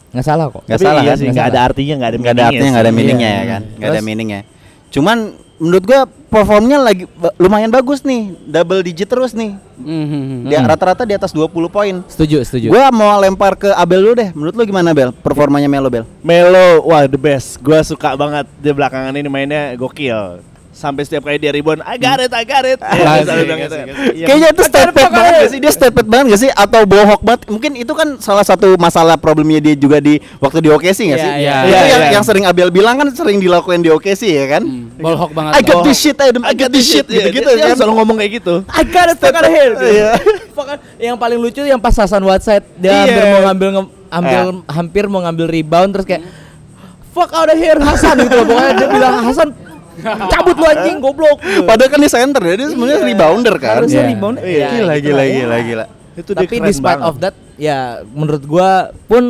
E: nggak salah kok.
D: Nggak
A: Tapi
D: salah
A: iya
D: kan?
A: sih,
E: Nggak
A: nggak ada
E: salah.
A: artinya, nggak ada
D: nggak ada artinya nggak
A: meaning-nya
D: ada
A: sih.
D: meaningnya
E: Iya.
D: ya kan nggak ada
E: Terus?
D: meaningnya cuman menurut gua performnya lagi ba- lumayan bagus nih double digit terus nih
F: Mhm, mhm.
D: Dia rata-rata di atas 20 poin
E: Setuju,
F: Iya.
E: setuju.
D: gua mau lempar ke Abel dulu deh menurut lu gimana Bel performanya Melo Bel
A: Melo, wah the best. Gua suka banget dia belakangan ini mainnya gokil. Sampai setiap kali dia rebound, I got it, I got it.
D: Hmm.
F: Asik,
A: Iya, selalu bilang gitu. Iya.
D: [laughs] Kayaknya itu statement banget gak sih? Dia statement banget gak sih? Atau bohong banget? Mungkin itu kan salah satu masalah problemnya dia juga di waktu di OKC gak
F: Iya,
D: sih?
F: iya.
D: itu
A: Iya,
D: yang,
A: iya.
D: yang sering Abel bilang kan sering dilakuin di OKC ya kan?
F: Hmm, Bolhok banget.
D: I got
F: Oh.
D: this shit, I, I got this shit,
A: Iya,
D: gitu-gitu
A: dia- dia
D: kan?
A: selalu ngomong kayak gitu.
E: I got it, fuck out of here. gitu.
D: Iya.
E: Fuck out- yang paling lucu yang pas Hasan Whiteside dia
A: Iya.
E: hampir mau ngambil nge- ambil hampir mau ngambil rebound terus kayak fuck out of here Hasan gitu. Pokoknya dia bilang Hasan cabut lu anjing goblok.
D: Padahal kan di center ya, dia sebenarnya rebounder kan?
E: Harusnya
F: Iya.
E: rebound.
A: Iya,
E: Ya,
D: Gila,
E: gitu
D: gila,
E: lah.
D: gila, gila.
A: Itu dia
E: tapi
A: keren
E: despite
A: banget.
E: of that ya menurut gua pun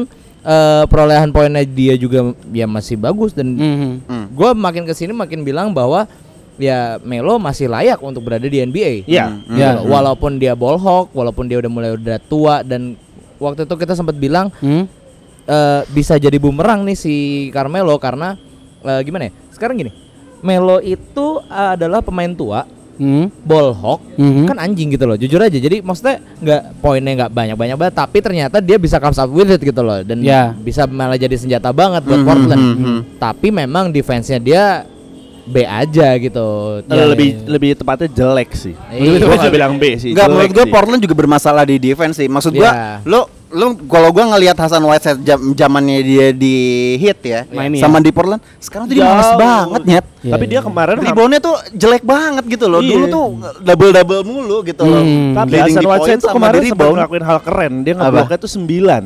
E: eh, perolehan poinnya dia juga ya masih bagus dan
F: Mhm.
E: gua makin kesini makin bilang bahwa ya Melo masih layak untuk berada di NBA.
A: Iya.
E: Gitu loh. Walaupun dia bolhok, walaupun dia udah mulai udah tua dan waktu itu kita sempat bilang
F: Hmm?
E: eh, bisa jadi bumerang nih si Carmelo karena eh, gimana ya? Sekarang gini, Melo itu adalah pemain tua,
F: Hmm?
E: bolhok,
F: Mhm.
E: kan anjing gitu loh jujur aja jadi maksudnya nggak poinnya nggak banyak banyak banget tapi ternyata dia bisa comes up with it gitu loh dan
F: Ya.
E: bisa malah jadi senjata banget buat
D: Mhm,
E: Portland
D: mhm.
E: tapi memang defense-nya dia B aja gitu
A: Eh, lebih lebih tepatnya jelek sih.
E: Iya.
A: Gua nggak bilang B sih.
D: Enggak
A: jelek
D: menurut gue
A: sih.
D: Portland juga bermasalah di defense sih. Maksud gua
E: Iya.
D: lo lo kalau gua ngelihat Hasan Whiteside jam zamannya dia di hit ya
A: Iya.
F: Miami
D: sama di Portland, sekarang tuh dia
A: Jauh.
D: males banget nyet.
A: Tapi
E: Iya,
A: dia kemarin ham-
D: Reboundnya tuh jelek banget gitu loh. Dulu
A: Iya.
D: tuh double double mulu gitu loh.
F: Hmm.
A: tapi
D: Leading
A: Hasan
D: di
A: Whiteside
D: poin
A: tuh
D: sama
A: kemarin
D: di
A: sempat
D: rebound.
A: ngelakuin hal keren. Dia ngebloknya tuh 9.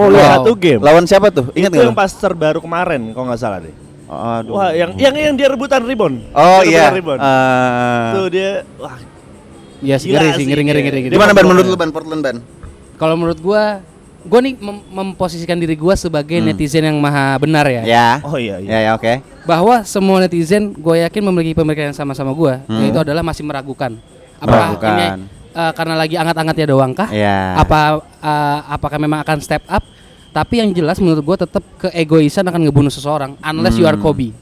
D: Oh,
F: wow.
A: Dalam iya, satu game.
D: Lawan siapa tuh? Ingat
A: itu yang
D: enggak?
A: pas terbaru kemarin kalau nggak salah deh.
D: Aduh.
A: Wah, yang yang yang dia rebutan rebound.
D: Oh
A: Dia
D: iya.
A: rebutan Rebound.
D: Eh,
A: Tuh dia wah
F: Ya sih,
A: Gila
F: ngeri
A: sih,
F: sih, ngeri ngeri
A: iya.
F: ngeri. ngeri.
D: Gimana ban menurut lu ban Portland ban?
F: Kalau menurut gua, gua nih mem- memposisikan diri gua sebagai netizen yang maha benar ya.
D: Hmm. Ya.
A: oh iya iya.
D: Ya ya oke.
F: Bahwa semua netizen gue yakin memiliki pemikiran yang sama sama gua, yaitu adalah masih meragukan. Apakah
D: Hmm. Meragukan.
F: ini eh, karena lagi angat-angatnya doang kah?
D: Ya.
F: Apa eh, apakah memang akan step
D: Hmm.
F: up? Tapi yang jelas menurut gua tetap keegoisan akan ngebunuh seseorang unless you are Kobe.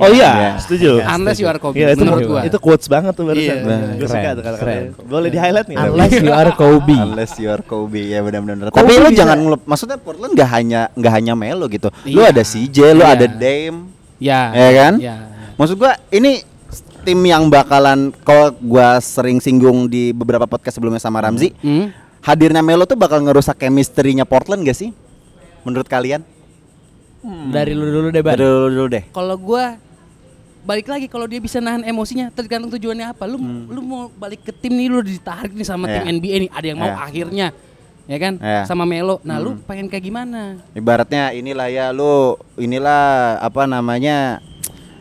A: Oh
D: Iya.
A: iya, setuju.
E: Iya,
F: Unless you are Kobe,
A: Iya, itu
F: menurut
A: menurut
F: gua.
A: Itu quotes banget tuh barusan.
F: Iya,
D: Nah,
A: Gue suka
E: keren,
A: tuh kata-katanya.
E: keren.
A: Boleh di highlight nih.
E: Unless you are Kobe.
D: [laughs] Unless you are Kobe ya benar-benar.
E: Kobe
D: Iya. Tapi lu
E: bisa-
D: jangan ngelup. Maksudnya Portland nggak hanya nggak hanya Melo gitu. Lu
F: Iya.
D: ada CJ, lu
F: Iya.
D: ada Dame.
F: Ya.
D: Ya kan?
F: Ya.
D: Maksud gua ini tim yang bakalan kalau gua sering singgung di beberapa podcast sebelumnya sama Ramzi,
F: Hmm?
D: hadirnya Melo tuh bakal ngerusak chemistry-nya Portland gak sih? Menurut kalian?
E: Dari lu dulu deh, Ban.
D: Dari dulu, dulu deh.
F: Kalau gua balik lagi kalau dia bisa nahan emosinya tergantung tujuannya apa. Lu
D: Hmm.
F: lu mau balik ke tim nih lu ditarik nih sama
D: Iya.
F: tim NBA nih, ada yang mau
D: Iya.
F: akhirnya. Ya kan?
D: Iya.
F: Sama Melo. Nah, lu pengen kayak gimana?
D: Ibaratnya inilah ya lu inilah apa namanya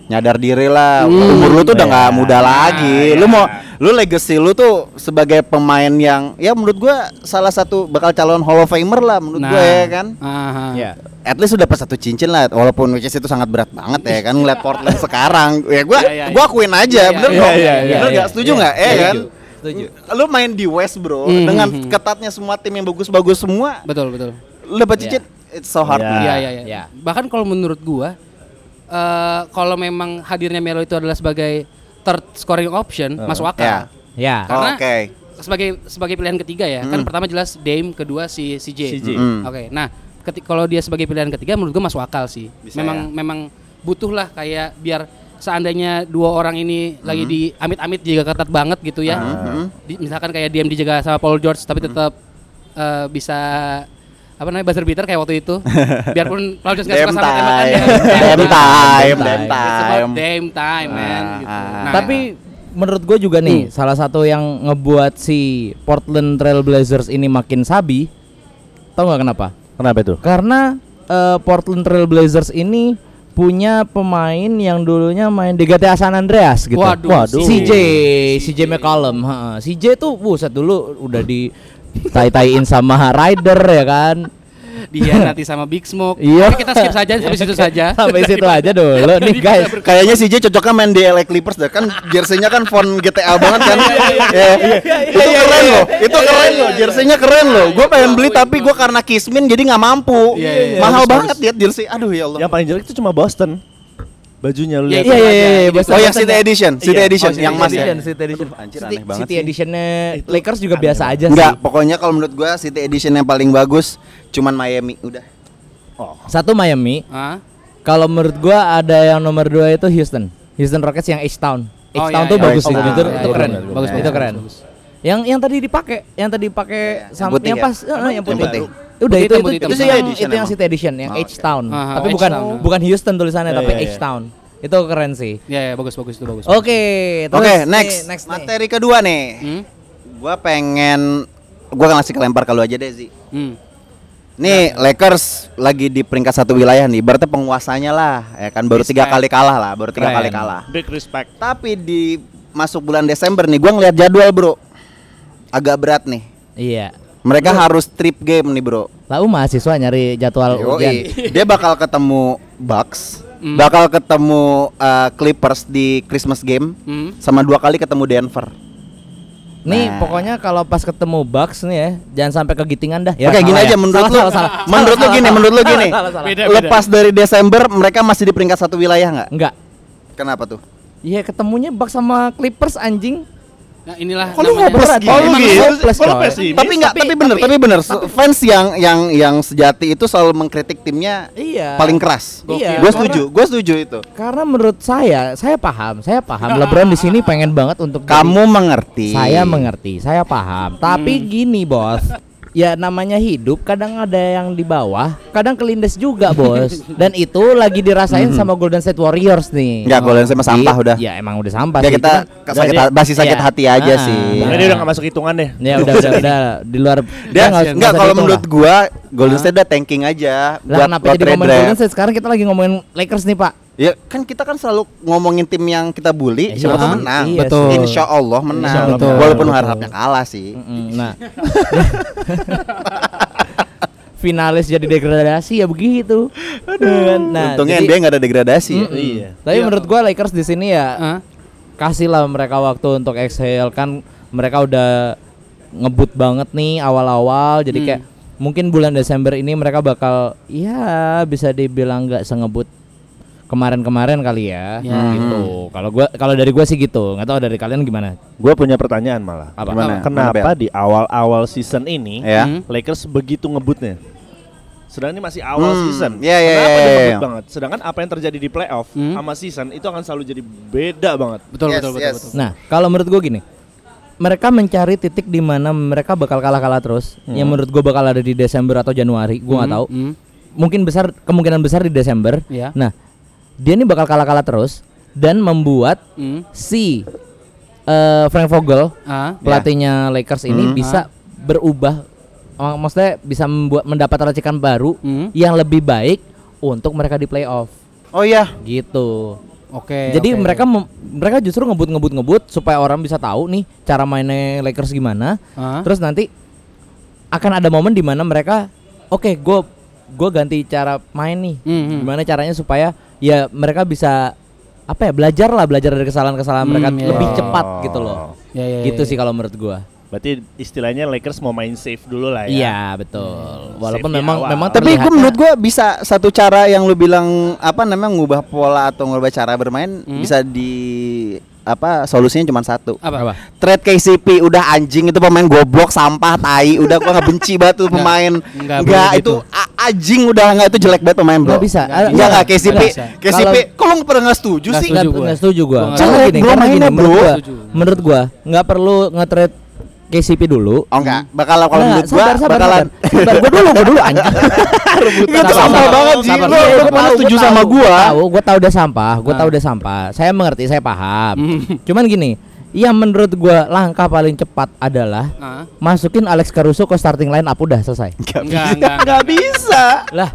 D: nyadar diri lah umur lu tuh udah nggak muda lagi lu mau lu legacy lu tuh sebagai pemain yang ya menurut gua salah satu bakal calon hall of famer lah menurut
F: nah,
D: gua ya kan
F: Aha.
D: at least udah pas satu cincin lah walaupun which is itu sangat berat banget ya kan ngeliat Portland sekarang ya gua
F: Iya, iya,
D: gua akuin aja
F: Iya,
D: bener
F: iya,
D: dong
E: iya, iya,
D: bener
E: iya,
D: nggak setuju
E: iya,
D: nggak
E: iya,
D: eh kan
E: setuju, setuju.
D: lu main di West bro
F: Hmm,
D: dengan
F: hmm, hmm.
D: ketatnya semua tim yang bagus-bagus semua
F: Betul, betul.
D: lu dapat cincin it's so hard
A: Iya.
D: man.
F: Iya,
A: Ah,
F: iya,
E: iya.
F: iya. Bahkan kalau menurut gua eh kalau memang hadirnya Melo itu adalah sebagai third scoring option,
D: Iya.
F: masuk akal.
E: Ya.
F: Karena
D: Oke.
F: sebagai sebagai pilihan ketiga ya. Kan pertama jelas Dame, kedua si CJ.
A: CJ.
D: Mm.
F: Oke. Nah, keti- kalau dia sebagai pilihan ketiga menurut gua masuk akal sih.
D: Bisa ya.
F: memang memang butuhlah kayak biar seandainya dua orang ini lagi di amit-amit jaga ketat banget gitu ya.
D: Hmm.
F: Di- misalkan kayak Dame dijaga sama Paul George tapi tetap eh, bisa apa namanya buzzer beater kayak waktu
D: [laughs]
F: itu. Biarpun Paul George nggak suka
D: Damn
F: sama tembakan
D: time.
F: dia tetap
D: Damn time,
E: Damn
D: damn
F: It's
D: time.
F: about Dame time, man.
D: Ah,
F: gitu.
D: ah.
F: Nah,
E: Tapi menurut gue juga nih salah satu yang ngebuat si Portland Trail Blazers ini makin sabi. Tahu nggak kenapa?
A: Kenapa itu?
E: Karena eh, Portland Trail Blazers ini punya pemain yang dulunya main di GTA San Andreas gitu.
F: Waduh,
E: CJ, CJ McCollum, heeh. CJ tuh buset dulu udah di tai-taiin sama Ryder ya kan.
F: dihianati sama Big Smoke.
E: Iya.
F: Tapi kita skip saja
E: [laughs]
F: sampai situ saja.
E: Sampai situ aja dulu nih guys.
D: Kayaknya si J cocoknya main di LA Clippers deh kan jersinya kan font GTA banget kan. Iya. Itu keren loh. Itu keren loh. Jersinya keren loh. Gue pengen beli tapi gue karena kismin jadi nggak mampu.
F: Iya, iya, iya.
D: Mahal
F: Bagus,
D: banget ya jersey. Aduh ya
A: Yang
D: Allah.
A: paling jelek itu cuma Boston. Bajunya lu
F: Iya,
A: lihat.
E: Iya iya iya, iya.
D: Oh yang
E: Boston-
D: City Edition, City
A: Iya.
D: Edition
A: Oh,
D: yang
A: City
D: mas
E: Edition,
D: ya.
E: City Edition.
D: Aduh, anjir,
E: City,
D: aneh banget
E: City
D: sih.
E: Editionnya
A: Itu
E: Lakers juga
A: aneh
E: biasa
A: banget.
E: aja
D: Enggak,
E: Iya, sih.
D: pokoknya kalau menurut gue City Edition yang paling bagus cuman Miami udah.
E: Satu Miami,
F: Hah?
E: kalau menurut gua ada yang nomor dua itu Houston. Houston Rockets yang H Town. H
F: Oh,
E: Town
F: iya,
E: tuh
F: iya,
E: bagus
D: iya,
E: sih,
D: iya,
E: itu,
D: iya,
E: itu
D: iya,
E: keren.
D: iya, iya,
E: bagus,
D: iya,
E: itu
D: iya,
E: keren. Yang yang tadi dipakai, yang tadi dipakai
D: yang
E: sama
D: putih
E: yang
D: ya?
E: pas, eh, yang
D: putih?
E: putih.
D: Yang
E: Udah
F: Putih
E: itu
F: hitam,
E: itu,
F: putih hitam.
E: itu sih
D: City
E: yang
D: Edition
E: itu yang
D: emang?
E: City Edition yang
D: Oh,
E: H Town.
F: oke. Ah,
E: Tapi
F: oh,
E: bukan
F: H-Town.
E: bukan Houston tulisannya
A: Iya,
E: tapi
A: iya, iya.
E: H Town. Itu keren sih.
F: Ya, ya, bagus bagus itu bagus.
E: Oke, terus
D: Oke,
E: nih,
D: next.
E: next nih.
D: Materi kedua nih.
F: Hmm?
D: Gue pengen gue akan ngasih kelempar kalau aja deh Zi.
F: Hmm.
D: Nih Lakers lagi di peringkat satu wilayah nih, berarti penguasanya lah, ya kan baru tiga
F: Respect.
D: kali kalah lah, baru tiga
E: Keren.
D: kali kalah.
A: Big respect.
D: Tapi di masuk bulan Desember nih, gua ngeliat jadwal bro, agak berat nih.
E: Iya.
D: Mereka harus trip game nih bro.
E: Lalu mahasiswa nyari jadwal ujian.
D: Yoi. Dia bakal ketemu Bucks,
F: Oh, Hmm.
D: bakal ketemu uh, Clippers di Christmas game,
F: Hmm.
D: sama dua kali ketemu Denver.
E: Nih
D: Nah.
E: pokoknya kalau pas ketemu Bucks nih ya, jangan sampai kegitingan dah. Ya,
D: Oke
E: salah
D: gini
E: ya.
D: aja menurut
E: Salah,
D: lu,
E: salah, salah.
D: menurut lu gini, menurut lu gini.
E: Salah, salah, salah.
D: Lepas dari Desember mereka masih di peringkat satu wilayah nggak?
E: Enggak.
D: Kenapa tuh?
E: Iya ketemunya Bucks sama Clippers anjing.
F: Nah, inilah
D: Kok lu ngobrol
E: berat,
D: gini?
A: Oh, lu
E: Emang
A: gitu?
E: hopeless,
A: Oh, lu
E: coy.
A: pesimis?
D: tapi nggak tapi, bener tapi bener fans yang yang yang sejati itu selalu mengkritik timnya
E: Iya.
D: paling keras
E: Iya,
D: gue
E: karena-
D: setuju gue setuju itu
E: Karena menurut saya, saya paham, saya paham. LeBron di sini pengen banget untuk jadi-
D: kamu mengerti
E: Saya mengerti, saya paham. Tapi
D: Hmm.
E: gini bos, ya namanya hidup kadang ada yang di bawah, kadang kelindes juga
D: [laughs]
E: bos. Dan itu lagi dirasain sama Golden State Warriors nih.
D: Hmm. nggak golden sama sampah
E: Iya,
D: udah
E: Ya emang udah sampah.
D: ya
E: sih,
D: kita
E: cuman-
D: ke- sakit
A: Jadi-
D: ha- masih sakit
E: Iya.
D: hati aja
E: Ah.
D: sih
E: Iya.
A: Nah, Ini udah gak masuk hitungan deh.
E: Ya udah udah udah di luar
D: dia
E: nggak usah- usah
D: nggak kalau
E: dihitung
D: menurut
E: lah.
D: gue golden state udah tanking aja
E: lah
D: buat
E: kenapa
D: buat
E: jadi ngomongin
D: redraft.
E: Golden State sekarang kita lagi ngomongin Lakers nih pak
D: ya kan kita kan selalu ngomongin tim yang kita
E: Iya.
D: bully siapa tahu menang
E: Iya
F: Betul. sih.
D: insya allah menang
E: Insya Allah
F: Betul.
D: walaupun
E: betul.
D: harapnya kalah sih
E: Mm,
D: [laughs]
E: nah finalis jadi degradasi ya begitu aduh nah
D: untungnya
E: jadi-
D: dia nggak ada degradasi ya.
A: Iya.
E: tapi menurut gua Lakers di sini ya
F: Hah?
E: kasihlah mereka waktu untuk exhale kan mereka udah ngebut banget nih awal-awal jadi
F: Hmm.
E: kayak mungkin bulan Desember ini mereka bakal ya bisa dibilang nggak sengebut kemarin-kemarin kali ya,
F: Ya.
E: gitu. Kalau gua kalau dari gua sih gitu. Nggak tahu dari kalian gimana?
A: Gue punya pertanyaan malah.
E: Apa?
D: Gimana?
E: Apa?
A: Kenapa
D: Bel?
A: di awal-awal season ini
D: Ya.
F: Hmm.
A: Lakers begitu ngebutnya? Sedangkan ini masih awal
D: Hmm,
A: season.
D: iya, iya,
A: Kenapa
D: iya,
A: dia
D: iya,
A: ngebut
D: iya.
A: banget? Sedangkan apa yang terjadi di playoff
F: Hmm.
A: sama season itu akan selalu jadi beda banget.
F: Betul,
D: Yes,
F: betul, betul,
D: yes.
F: betul.
E: Nah, kalau menurut gua gini. Mereka mencari titik di mana mereka bakal kalah-kalah terus.
A: Hmm.
E: Yang menurut gua bakal ada di Desember atau Januari, gua nggak tahu.
F: Hmm.
E: Mungkin besar kemungkinan besar di Desember.
F: Iya.
E: Nah, dia ini bakal kalah-kalah terus dan membuat
F: Hmm.
E: si eh, Frank Vogel
F: Ah.
E: Iya. pelatihnya Lakers ini
D: Hmm.
E: bisa berubah mak- maksudnya bisa membuat mendapat racikan baru
F: Hmm.
E: yang lebih baik untuk mereka di playoff
D: Oh iya.
E: gitu.
F: Oke.
E: Jadi
F: oke.
E: mereka mem- mereka justru ngebut-ngebut-ngebut supaya orang bisa tahu nih cara mainnya Lakers gimana.
F: Ah.
E: Terus nanti akan ada momen di mana mereka oke, gue gue ganti cara main nih.
F: Hmm, hmm.
E: Gimana caranya supaya ya mereka bisa apa ya belajar lah belajar dari kesalahan-kesalahan
F: Hmm,
E: mereka
F: iya.
E: lebih cepat
A: Oh.
E: gitu loh.
F: Ya, ya, ya,
E: gitu
F: ya.
E: sih kalau menurut gua.
A: Berarti istilahnya Lakers mau main safe dulu lah ya.
E: Iya
F: Hmm.
E: betul. Walaupun
A: Safety
E: memang
A: awal.
E: memang
D: Tapi gue
E: terlihatnya-
D: menurut gue bisa satu cara yang lu bilang apa namanya ngubah pola atau ngubah cara bermain
E: Mm.
D: bisa di apa solusinya cuma satu.
F: Apa?
E: Apa?
D: Trade KCP udah anjing itu pemain goblok sampah tai udah gua nggak benci banget
E: [laughs]
D: tuh pemain
F: nggak
D: nggak
F: boleh
D: itu
F: gitu.
D: a- anjing udah nggak itu jelek banget pemain bro
E: Nggak bisa.
D: nggak
E: Nggak
D: nggak
E: bisa.
D: KCP
F: Nggak bisa.
D: KCP kalau nggak pernah nggak setuju
F: Nggak
D: sih
E: Nggak
F: gua.
E: nggak setuju gua.
F: Gua nggak
E: Karena
D: setuju.
E: gini,
D: Bro,
E: karena
D: mainnya,
E: gini, menurut
D: bro.
E: gua,
F: Setuju.
E: menurut gua nggak perlu nge-trade KCP dulu.
D: oh enggak bakal kalau
E: Nggak,
D: menurut gua
E: sabar, sabar,
D: bakalan
E: sabar. Sabar, gua dulu, gua dulu anjing.
D: [laughs] Nggak, itu
E: Sabar,
D: sampah
E: sabar,
D: banget sih
E: sabar.
D: lo
E: Iya,
D: lo pernah
E: tahu,
D: setuju
E: tahu,
D: sama gua
E: Tahu, gua tahu udah sampah, gua tahu udah sampah. Saya mengerti, saya paham. Cuman gini, yang menurut gua langkah paling cepat adalah
F: Ah.
E: masukin Alex Caruso ke starting line up udah selesai.
F: Enggak, enggak, enggak,
D: nggak bisa
E: Lah,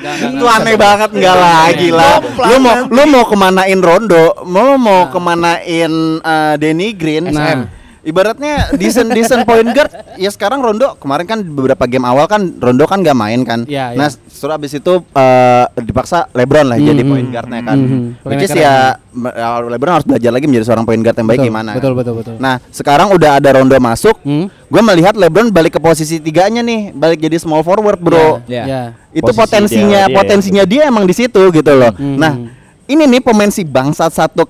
F: enggak, enggak,
D: Itu
F: enggak.
D: aneh banget nggak lah gila. Lu mau lu mau kemanain Rondo, mau mau kemanain eh, Danny Green.
F: SM.
D: Nah, Ibaratnya decent decent point guard ya sekarang Rondo kemarin kan beberapa game awal kan Rondo kan nggak main kan.
F: Iya, iya.
D: Nah setelah abis itu eh, dipaksa LeBron lah jadi point guardnya kan. Which is ya me- ya, LeBron harus belajar lagi menjadi seorang point guard yang baik
F: Betul,
D: gimana.
F: Betul,
D: kan.
F: betul, betul.
D: Nah sekarang udah ada Rondo masuk,
F: Hmm.
D: gue melihat LeBron balik ke posisi tiganya nih, balik jadi small forward bro
E: Ya.
F: Ya.
D: itu
A: Posisi
D: potensinya
A: ideal dia ya.
D: potensinya Iya, dia emang di situ gitu loh.
F: Hmm.
D: Nah, ini nih pemain si bangsat satu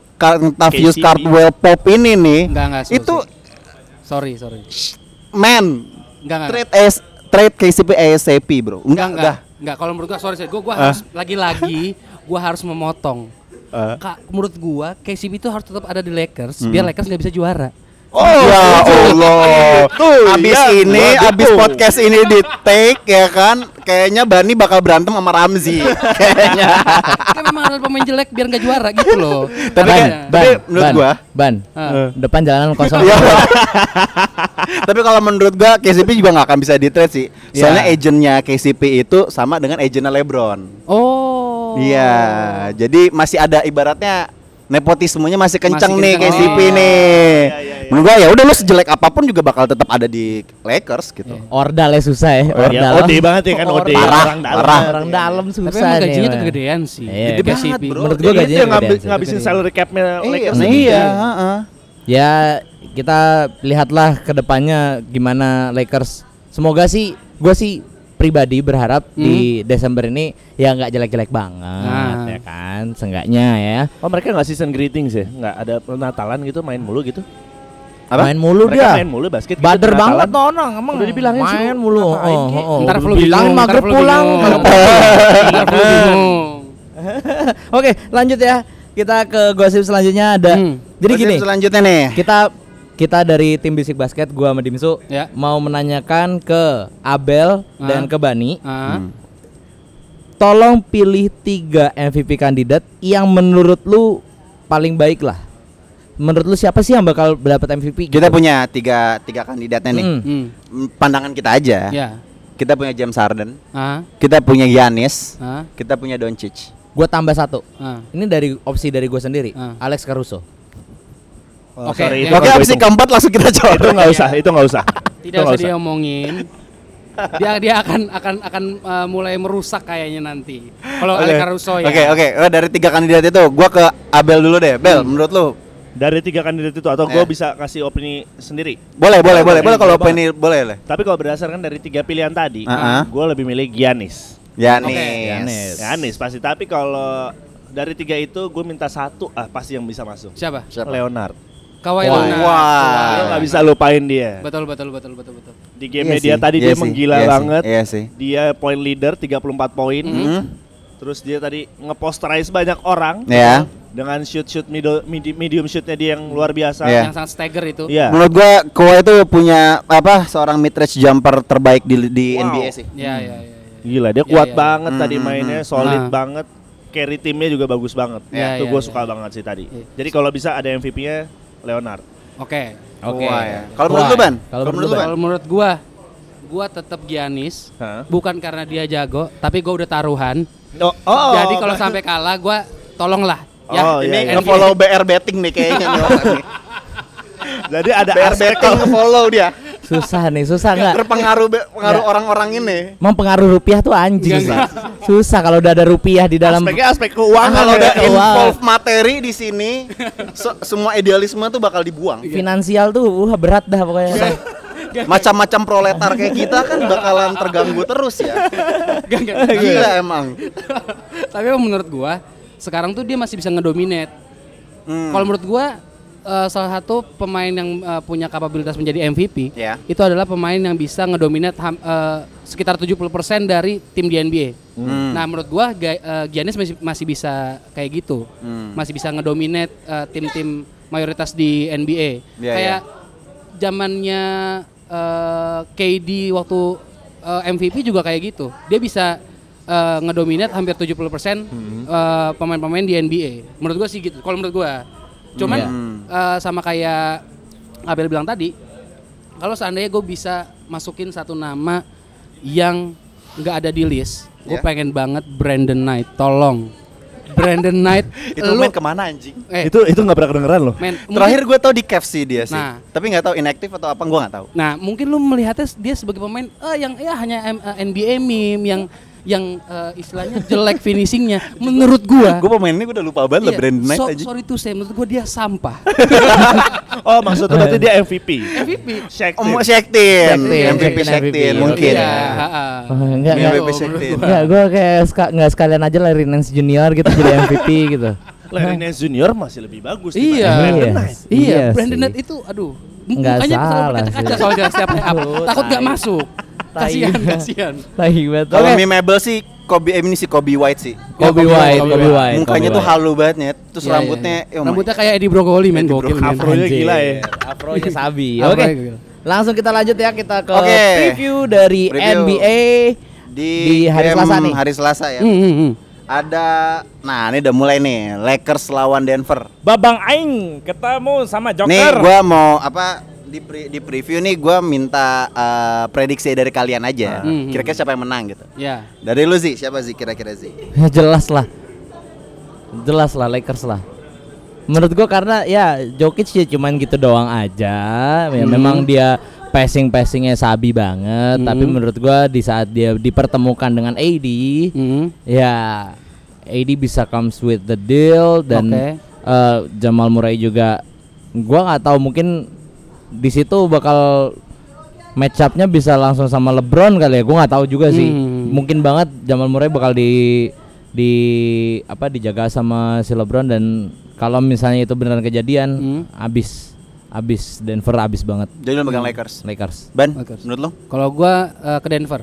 D: Tavius
A: KCP.
D: Cardwell Pope ini nih.
F: Enggak, enggak. sorry,
D: itu
F: sorry, sorry. sorry.
D: man
F: Enggak, enggak.
D: trade as trade KCP ASAP, Bro. Enggak,
F: Enggak, enggak.
D: enggak.
F: Enggak, kalau menurut gua sorry, sorry. Gua
D: Eh.
F: gua harus lagi-lagi gua harus memotong.
A: Eh.
F: Kak, menurut gua KCP itu harus tetap ada di
D: Hmm.
F: Lakers biar Lakers nggak bisa
D: [laughs]
F: juara.
D: Oh iya, ya Allah. abis ini, abis podcast ini di take ya kan, kayaknya Bani bakal berantem sama Ramzi. [laughs] kayaknya.
F: kan memang harus pemain jelek biar nggak juara gitu loh.
D: Tapi
E: ban,
D: kan- Eh.
E: ban,
F: Makanya.
D: tapi menurut
E: ban,
D: gua-
E: ban.
F: Ah.
E: Depan jalanan kosong.
D: Iya. [laughs] Tapi kalau menurut gua KCP juga nggak akan bisa di trade sih. Soalnya
E: Iya.
D: agentnya KCP itu sama dengan agennya LeBron.
F: Oh.
D: Iya, jadi masih ada ibaratnya nepotismenya masih kenceng
F: Masih
D: nih
F: kenceng.
D: KCP
F: Oh,
D: nih. Menurut gua ya udah lu sejelek apapun juga bakal tetap ada di Lakers gitu.
E: Ordal ya susah ya.
A: Ya,
E: Ordal.
A: OD banget ya kan OD
D: Parah,
A: orang dalam.
D: parah.
E: Orang dalam susah
F: Tapi emang gajinya
E: Bang.
F: kegedean sih.
E: Iya.
D: Gede
F: KCP.
D: banget, Bro.
E: Menurut
A: Dia
E: gua
A: itu
E: gajinya
A: yang ngabi-
E: kegedean sih. Iya.
A: ngabisin salary capnya Lakers. gitu.
D: Iya, iya, heeh.
E: Ya kita lihatlah ke depannya gimana Lakers. Semoga sih gue sih pribadi berharap di Desember ini ya nggak jelek-jelek banget
F: Nah.
E: ya kan seenggaknya ya
A: Oh mereka nggak season greetings ya? Nggak ada Natalan gitu main mulu gitu?
D: Apa?
E: main mulu
A: mereka
E: dia
A: main mulu basket. gitu,
E: bader banget
A: Natalan.
E: tuh orang emang
A: Udah dibilangin sih,
E: main mulu oh,
A: ngapain,
E: oh,
A: Ki?
E: oh.
F: Ntar
E: Udah
F: flu
E: bilangin
F: bingung,
E: maghrib
F: ntar flu
E: pulang
F: bingung. Ntar flu bingung.
E: [laughs] oke lanjut ya kita ke gosip selanjutnya ada
F: Hmm.
E: jadi
D: Terus
E: gini
D: yang selanjutnya nih.
E: kita kita dari tim bisik basket gua sama Dimsu
F: Ya.
E: mau menanyakan ke Abel dan
F: Ah.
E: ke Bani
F: Ah.
E: tolong pilih tiga MVP kandidat yang menurut lu paling baik lah menurut lu siapa sih yang bakal dapat MVP gitu?
D: Kita punya tiga tiga kandidatnya nih.
E: Mm.
F: Hmm.
D: Mm, Pandangan kita aja.
F: Ya.
D: Kita punya James Harden,
F: Ah.
D: kita punya Giannis,
F: Ah.
D: kita punya Doncic.
E: gua tambah satu
F: Ah.
E: ini dari opsi dari gua sendiri
F: Ah.
E: Alex Caruso
A: Oh,
F: Oke,
A: sorry,
F: ya.
A: itu
D: Oke,
A: nggak gua
D: opsi
A: hitung.
D: keempat langsung kita
A: Itu
D: coba.
A: nggak usah, itu nggak usah. Itu
F: Tidak
A: nggak
F: usah diomongin. Dia dia akan akan akan eh, mulai merusak kayaknya nanti. Kalau
D: Oke.
F: Alex Caruso ya.
D: Oke, oke. Eh, Dari tiga kandidat itu, gua ke Abel dulu deh. Bel, menurut lu
A: Dari tiga kandidat itu atau
D: Eh.
A: gue bisa kasih opini sendiri.
D: boleh, boleh, boleh,
A: Boleh,
D: boleh kalau
A: boleh
D: opini boleh lah.
A: Tapi kalau berdasarkan dari tiga pilihan tadi,
D: Ah, ah.
A: gue lebih milih Giannis.
D: Giannis.
F: Oke,
A: Giannis pasti. Tapi kalau Dari tiga itu gue minta satu ah pasti yang bisa masuk.
F: Siapa?
D: Siapa?
A: Leonard.
F: Kawhi
D: Wah.
F: Leonard.
D: Wah.
A: Lo nggak bisa lupain dia.
F: Betul betul betul betul betul.
A: Di game
D: Iya
A: media
D: sih,
A: tadi
D: iya
A: dia
D: sih,
A: menggila
D: iya sih,
A: banget.
D: Iya Mm-hmm. sih. Hmm?
A: Dia point leader 34 poin. Terus dia tadi ngeposterize banyak orang.
D: Ya.
A: Dengan shoot shoot middle midi- medium shootnya dia yang luar
D: Iya.
A: biasa. Iya.
F: Yang sangat stagger itu.
D: Menurut gua Kawhi itu punya apa seorang mid range jumper terbaik di di
A: Wow.
D: NBA sih.
F: Ya ya ya.
A: Gila, dia
F: Iya,
A: kuat
F: iya,
A: banget
D: iya.
A: tadi
D: Mm, mm,
A: mainnya, solid
F: Nah.
A: banget. Carry timnya juga bagus banget.
F: Iya,
A: itu
F: iya,
A: gue
F: iya.
A: suka banget sih tadi.
F: Iya.
A: Jadi kalau bisa ada MVP-nya Leonard.
F: Oke.
E: Oke.
D: Kawhi ya. Kalau menurut lu,
E: Kawhi.
D: Ban?
E: Kalau menurut lu, Ban?
F: Kalau menurut gua, gua tetap Giannis.
A: Hah?
F: Bukan karena dia jago, tapi gua udah taruhan.
A: Oh, oh.
F: Jadi
D: [laughs]
F: kalau sampai kalah gua tolonglah ya.
A: Oh, iya, iya.
D: Ini
F: NBA.
D: nge-follow BR betting nih kayaknya nih orang nih.
A: [laughs] Jadi ada
D: BR
A: aspek
D: betting nge-follow dia.
E: Susah nih, susah nggak?
D: Terpengaruh be- pengaruh
E: Nggak.
D: orang-orang ini.
E: Mempengaruhi rupiah tuh anjing.
F: Nggak,
E: Susah kalau udah ada rupiah di dalam
A: aspeknya aspek keuangan
D: Kalau
A: ya.
D: udah
E: Kawhi.
D: involve materi di sini, se- semua idealisme tuh bakal dibuang.
E: finansial tuh wah berat dah pokoknya.
D: Macam-macam proletar kayak kita kan bakalan terganggu terus
F: [laughs]
D: ya.
F: Nggak, nggak.
D: Gila emang.
F: tapi emang menurut gua sekarang tuh dia masih bisa ngedominate.
D: Hmm.
F: Kalau menurut gua eh, salah satu pemain yang eh, punya kapabilitas menjadi MVP
D: Ya.
F: itu adalah pemain yang bisa ngedominate ham- eh, sekitar 70% dari tim di NBA.
D: Hmm.
F: Nah, menurut gua Ga- eh, Giannis masih masih bisa kayak gitu.
D: Hmm.
F: Masih bisa ngedominate eh, tim-tim mayoritas di NBA.
D: Iya,
F: kayak zamannya eh, KD waktu eh, MVP juga kayak gitu. Dia bisa eh, ngedominate hampir 70%
D: Hmm.
F: eh, pemain-pemain di NBA. Menurut gua sih gitu. Kalau menurut gua. Cuman
D: Hmm.
F: eh, sama kayak Abel bilang tadi, kalau seandainya gue bisa masukin satu nama yang nggak ada di list, gue
D: Ya.
F: pengen banget Brandon Knight, tolong. Brandon Knight,
D: [laughs] Itu
F: lu,
D: main kemana anjing?
F: eh,
A: Itu itu nggak pernah kedengeran loh.
F: men,
D: Terakhir gue tau di KFC dia sih,
F: Nah.
D: tapi nggak tahu inaktif atau apa gue nggak tahu.
F: mungkin- nah mungkin lu melihatnya dia sebagai pemain eh, yang ya hanya em- eh, NBA meme yang yang eh, istilahnya jelek finishingnya,
D: [laughs]
F: menurut gua.
D: Gue pemain ini gue udah lupa banget lah
F: iya,
D: brand Knight
F: so-
D: anjing.
F: sorry tuh saya, menurut gua dia sampah.
A: Oh, maksudnya berarti dia MVP.
F: MVP.
D: Oh,
A: Shakespeare.
D: mau Shaktin,
E: Shaqtin,
D: MVP
E: Shaqtin,
D: Shaktin
E: MVP.
D: mungkin.
F: Iya,
D: ya.
F: ha, ha.
E: Oh, enggak, enggak.
D: MVP
F: Iya,
D: Shaktin.
E: Enggak, gue kayak ska- nggak sekalian aja lah Rinance Junior gitu jadi MVP gitu.
A: Larry Nance Junior masih lebih bagus
F: Iya.
A: dibanding Brandon
E: Iya.
A: Knight.
F: Iya,
E: Iya
F: Brandon
E: sih.
F: Knight itu aduh m-
E: Nggak
F: mukanya selalu
E: salah
F: berkaca-kaca
E: sih.
F: soalnya setiap play up.
E: Aduh,
F: Takut nggak
E: tai.
F: masuk.
E: Tai.
F: Kasihan, kasihan.
E: Lagi banget.
D: Kalau
E: Oke.
D: memeable sih Kobe eh, ini si Kobe White sih.
E: [laughs] Kobe White, Kobe White.
D: Mukanya
E: Kobe
D: tuh
E: White.
D: halu banget Nyet. terus
F: Iya, iya,
D: rambutnya oh
F: iya. rambutnya kayak Eddie Brokoli men
D: Eddie Brocoli.
F: gokil. men. Iya,
A: Afro-nya
E: Anjir.
A: gila ya.
E: Afronya sabi.
F: Afronya
E: Iya, Oke.
F: gila.
E: Langsung kita lanjut ya kita ke
D: Oke.
E: preview dari
D: Preview.
E: NBA.
D: di,
E: Di hari
D: game
E: Selasa nih.
D: Hari Selasa ya.
F: Hmm, hmm, hmm.
D: Ada nah ini udah mulai nih Lakers lawan Denver.
G: Babang Aing ketemu sama Joker.
D: Nih gua mau apa di pre- di preview nih gua minta eh, prediksi dari kalian
E: Ah.
D: aja.
F: Hmm.
D: Kira-kira siapa yang menang gitu.
F: Ya.
D: Dari lu sih siapa sih kira-kira sih?
E: Ya, [laughs] jelas lah. Jelas lah Lakers lah. Menurut gua karena ya Jokic ya cuman gitu doang aja. Ya, memang dia passing-passingnya sabi banget, tapi menurut gua di saat dia dipertemukan dengan AD,
F: Hmm.
E: ya AD bisa comes with the deal dan
F: Oke.
E: eh, Jamal Murray juga gua nggak tahu mungkin di situ bakal match up-nya bisa langsung sama LeBron kali ya. Gua nggak tahu juga sih.
F: Hmm.
E: Mungkin banget Jamal Murray bakal di di apa dijaga sama si LeBron dan kalau misalnya itu beneran kejadian
F: Hmm.
E: abis abis Denver abis banget
D: Jadi lu megang Lakers.
E: Hmm. Lakers.
D: Ban,
F: Lakers.
D: menurut lu?
F: Kalau gua eh, ke Denver.